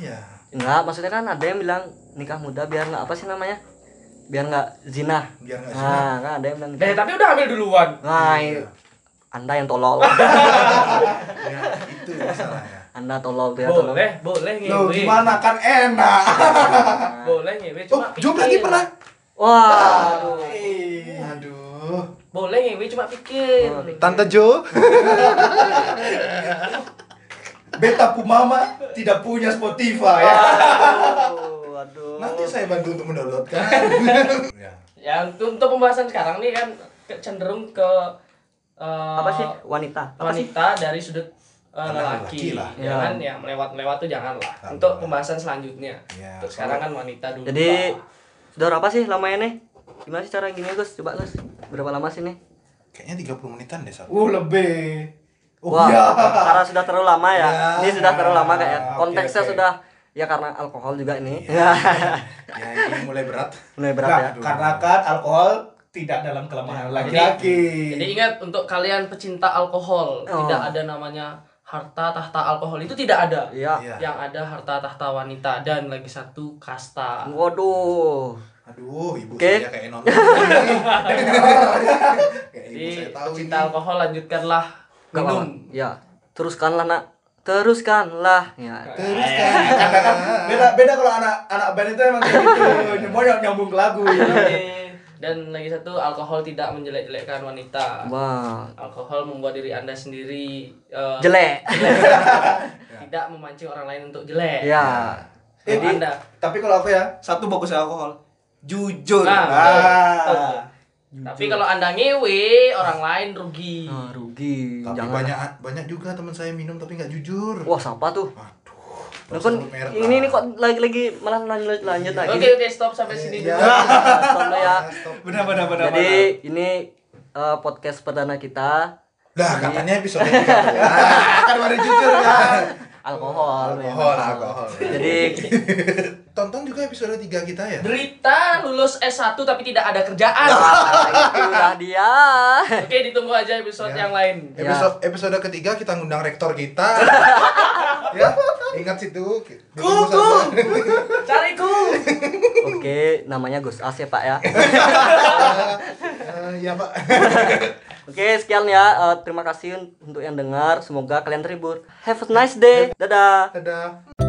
[SPEAKER 2] Iya.
[SPEAKER 1] Enggak, maksudnya kan ada yang bilang nikah muda biar nggak apa sih namanya? Biar nggak zina.
[SPEAKER 2] Biar nggak zina.
[SPEAKER 1] Nah, kan ada yang bilang.
[SPEAKER 4] Eh, tapi udah ambil duluan.
[SPEAKER 1] Nah,
[SPEAKER 3] Iya.
[SPEAKER 1] i- Anda yang tolol.
[SPEAKER 2] Ya, itu masalahnya.
[SPEAKER 1] Anda tolol tuh ya
[SPEAKER 2] Iya,
[SPEAKER 3] Oh,
[SPEAKER 1] tolol.
[SPEAKER 3] eh.
[SPEAKER 4] Boleh, boleh
[SPEAKER 3] Loh,
[SPEAKER 4] ngewe.
[SPEAKER 3] gimana kan enak.
[SPEAKER 4] Boleh ngewe
[SPEAKER 2] Oh,
[SPEAKER 4] cuma
[SPEAKER 2] Jom lagi pernah.
[SPEAKER 1] Wah, aduh.
[SPEAKER 3] Ih,
[SPEAKER 2] Aduh.
[SPEAKER 4] Boleh ngewe cuma pikir.
[SPEAKER 2] Oh, Tante Jo.
[SPEAKER 3] Beta Pumama tidak punya Spotify ya.
[SPEAKER 1] Aduh, aduh.
[SPEAKER 2] Nanti saya bantu untuk mendownloadkan. ya.
[SPEAKER 4] Ya, untuk, untuk pembahasan sekarang nih kan ke- cenderung ke eh,
[SPEAKER 1] Apa sih wanita? Apa sih?
[SPEAKER 4] wanita dari sudut eh,
[SPEAKER 2] Anak lelaki
[SPEAKER 4] lelaki,
[SPEAKER 2] lah.
[SPEAKER 4] jangan ya melewat-melewat tuh jangan lah.
[SPEAKER 2] Jangan.
[SPEAKER 4] Untuk pembahasan selanjutnya,
[SPEAKER 2] Ya,
[SPEAKER 4] untuk sekarang kan wanita dulu.
[SPEAKER 1] Jadi
[SPEAKER 4] lah.
[SPEAKER 1] sudah berapa sih lamanya nih? Gimana sih cara gini Gus? Coba Gus. Berapa lama sih nih?
[SPEAKER 2] Kayaknya 30 menitan deh Sal.
[SPEAKER 3] Uh, lebih. Oh,
[SPEAKER 1] Wah,
[SPEAKER 3] iya.
[SPEAKER 1] karena sudah terlalu lama ya.
[SPEAKER 2] Ya.
[SPEAKER 1] Ini sudah terlalu lama kayaknya.
[SPEAKER 3] Oke,
[SPEAKER 1] Konteksnya
[SPEAKER 3] oke. Iya.
[SPEAKER 1] sudah ya karena alkohol juga ini.
[SPEAKER 2] Ya, ini mulai berat.
[SPEAKER 1] Mulai berat
[SPEAKER 3] Nah,
[SPEAKER 1] ya.
[SPEAKER 3] karena kan alkohol tidak dalam kelemahan laki-laki.
[SPEAKER 4] Jadi ingat untuk kalian pecinta alkohol,
[SPEAKER 1] Oh.
[SPEAKER 4] tidak ada namanya harta tahta alkohol itu tidak ada.
[SPEAKER 1] Iya.
[SPEAKER 2] Iya.
[SPEAKER 4] Yang ada harta tahta wanita dan lagi satu kasta.
[SPEAKER 1] Waduh.
[SPEAKER 2] Aduh, ibu
[SPEAKER 1] Oke.
[SPEAKER 2] saya kayak nonton. kayak ibu saya
[SPEAKER 4] Jadi
[SPEAKER 2] tahu ini.
[SPEAKER 4] pecinta alkohol lanjutkanlah
[SPEAKER 1] Gak apa-apa.
[SPEAKER 4] minum.
[SPEAKER 1] Ya. Teruskanlah, Nak. Teruskanlah. Ya.
[SPEAKER 2] Terus
[SPEAKER 3] Ah. beda beda kalau anak anak band itu emang kayak gitu nyambung nyambung ke lagu
[SPEAKER 4] Iya,
[SPEAKER 3] ya.
[SPEAKER 4] Dan lagi satu alkohol tidak menjelek-jelekkan wanita.
[SPEAKER 1] Wah.
[SPEAKER 4] Alkohol membuat diri Anda sendiri eh,
[SPEAKER 1] Jelek.
[SPEAKER 4] tidak memancing orang lain untuk jelek.
[SPEAKER 1] Ya.
[SPEAKER 4] Kalau
[SPEAKER 3] Jadi- gitu.
[SPEAKER 4] Anda
[SPEAKER 3] tapi kalau aku ya satu bagusnya alkohol jujur
[SPEAKER 4] Nah, betul, betul.
[SPEAKER 3] nah,
[SPEAKER 4] tapi kalau Anda ngewe, orang lain rugi.
[SPEAKER 1] Nah, rugi.
[SPEAKER 2] Ya. Tapi
[SPEAKER 1] Jangan.
[SPEAKER 2] banyak banyak juga teman saya minum tapi nggak jujur.
[SPEAKER 1] Wah, siapa tuh?
[SPEAKER 2] Waduh.
[SPEAKER 1] Nah, kan ini nih kok lagi-lagi malah lanjut lanjut lagi.
[SPEAKER 4] Oke, oke, stop sampai sini dulu.
[SPEAKER 1] Nah, stop dulu ya.
[SPEAKER 3] benar benar benar
[SPEAKER 1] Jadi ini eh, podcast perdana kita
[SPEAKER 2] Lah
[SPEAKER 1] Iya.
[SPEAKER 2] katanya episode ini kan baru jujur kan.
[SPEAKER 1] alkohol. memang.
[SPEAKER 2] Alkohol, alkohol.
[SPEAKER 1] Jadi
[SPEAKER 2] Tonton juga episode 3 kita ya.
[SPEAKER 4] Berita lulus S1 tapi tidak ada kerjaan.
[SPEAKER 1] ah, itulah dia.
[SPEAKER 4] Oke, ditunggu aja episode
[SPEAKER 2] Ya.
[SPEAKER 4] yang lain.
[SPEAKER 1] Ya.
[SPEAKER 2] Episode episode ketiga kita ngundang rektor kita. ya, ingat situ. Ditunggu sama-
[SPEAKER 4] Cariku.
[SPEAKER 1] Oke, namanya Gus As ya, Pak ya.
[SPEAKER 2] iya, Eh, ya, Pak.
[SPEAKER 1] Oke, sekian ya. Eh, terima kasih un- untuk yang dengar. Semoga kalian terhibur. Have a nice day. Dadah.
[SPEAKER 2] Dadah.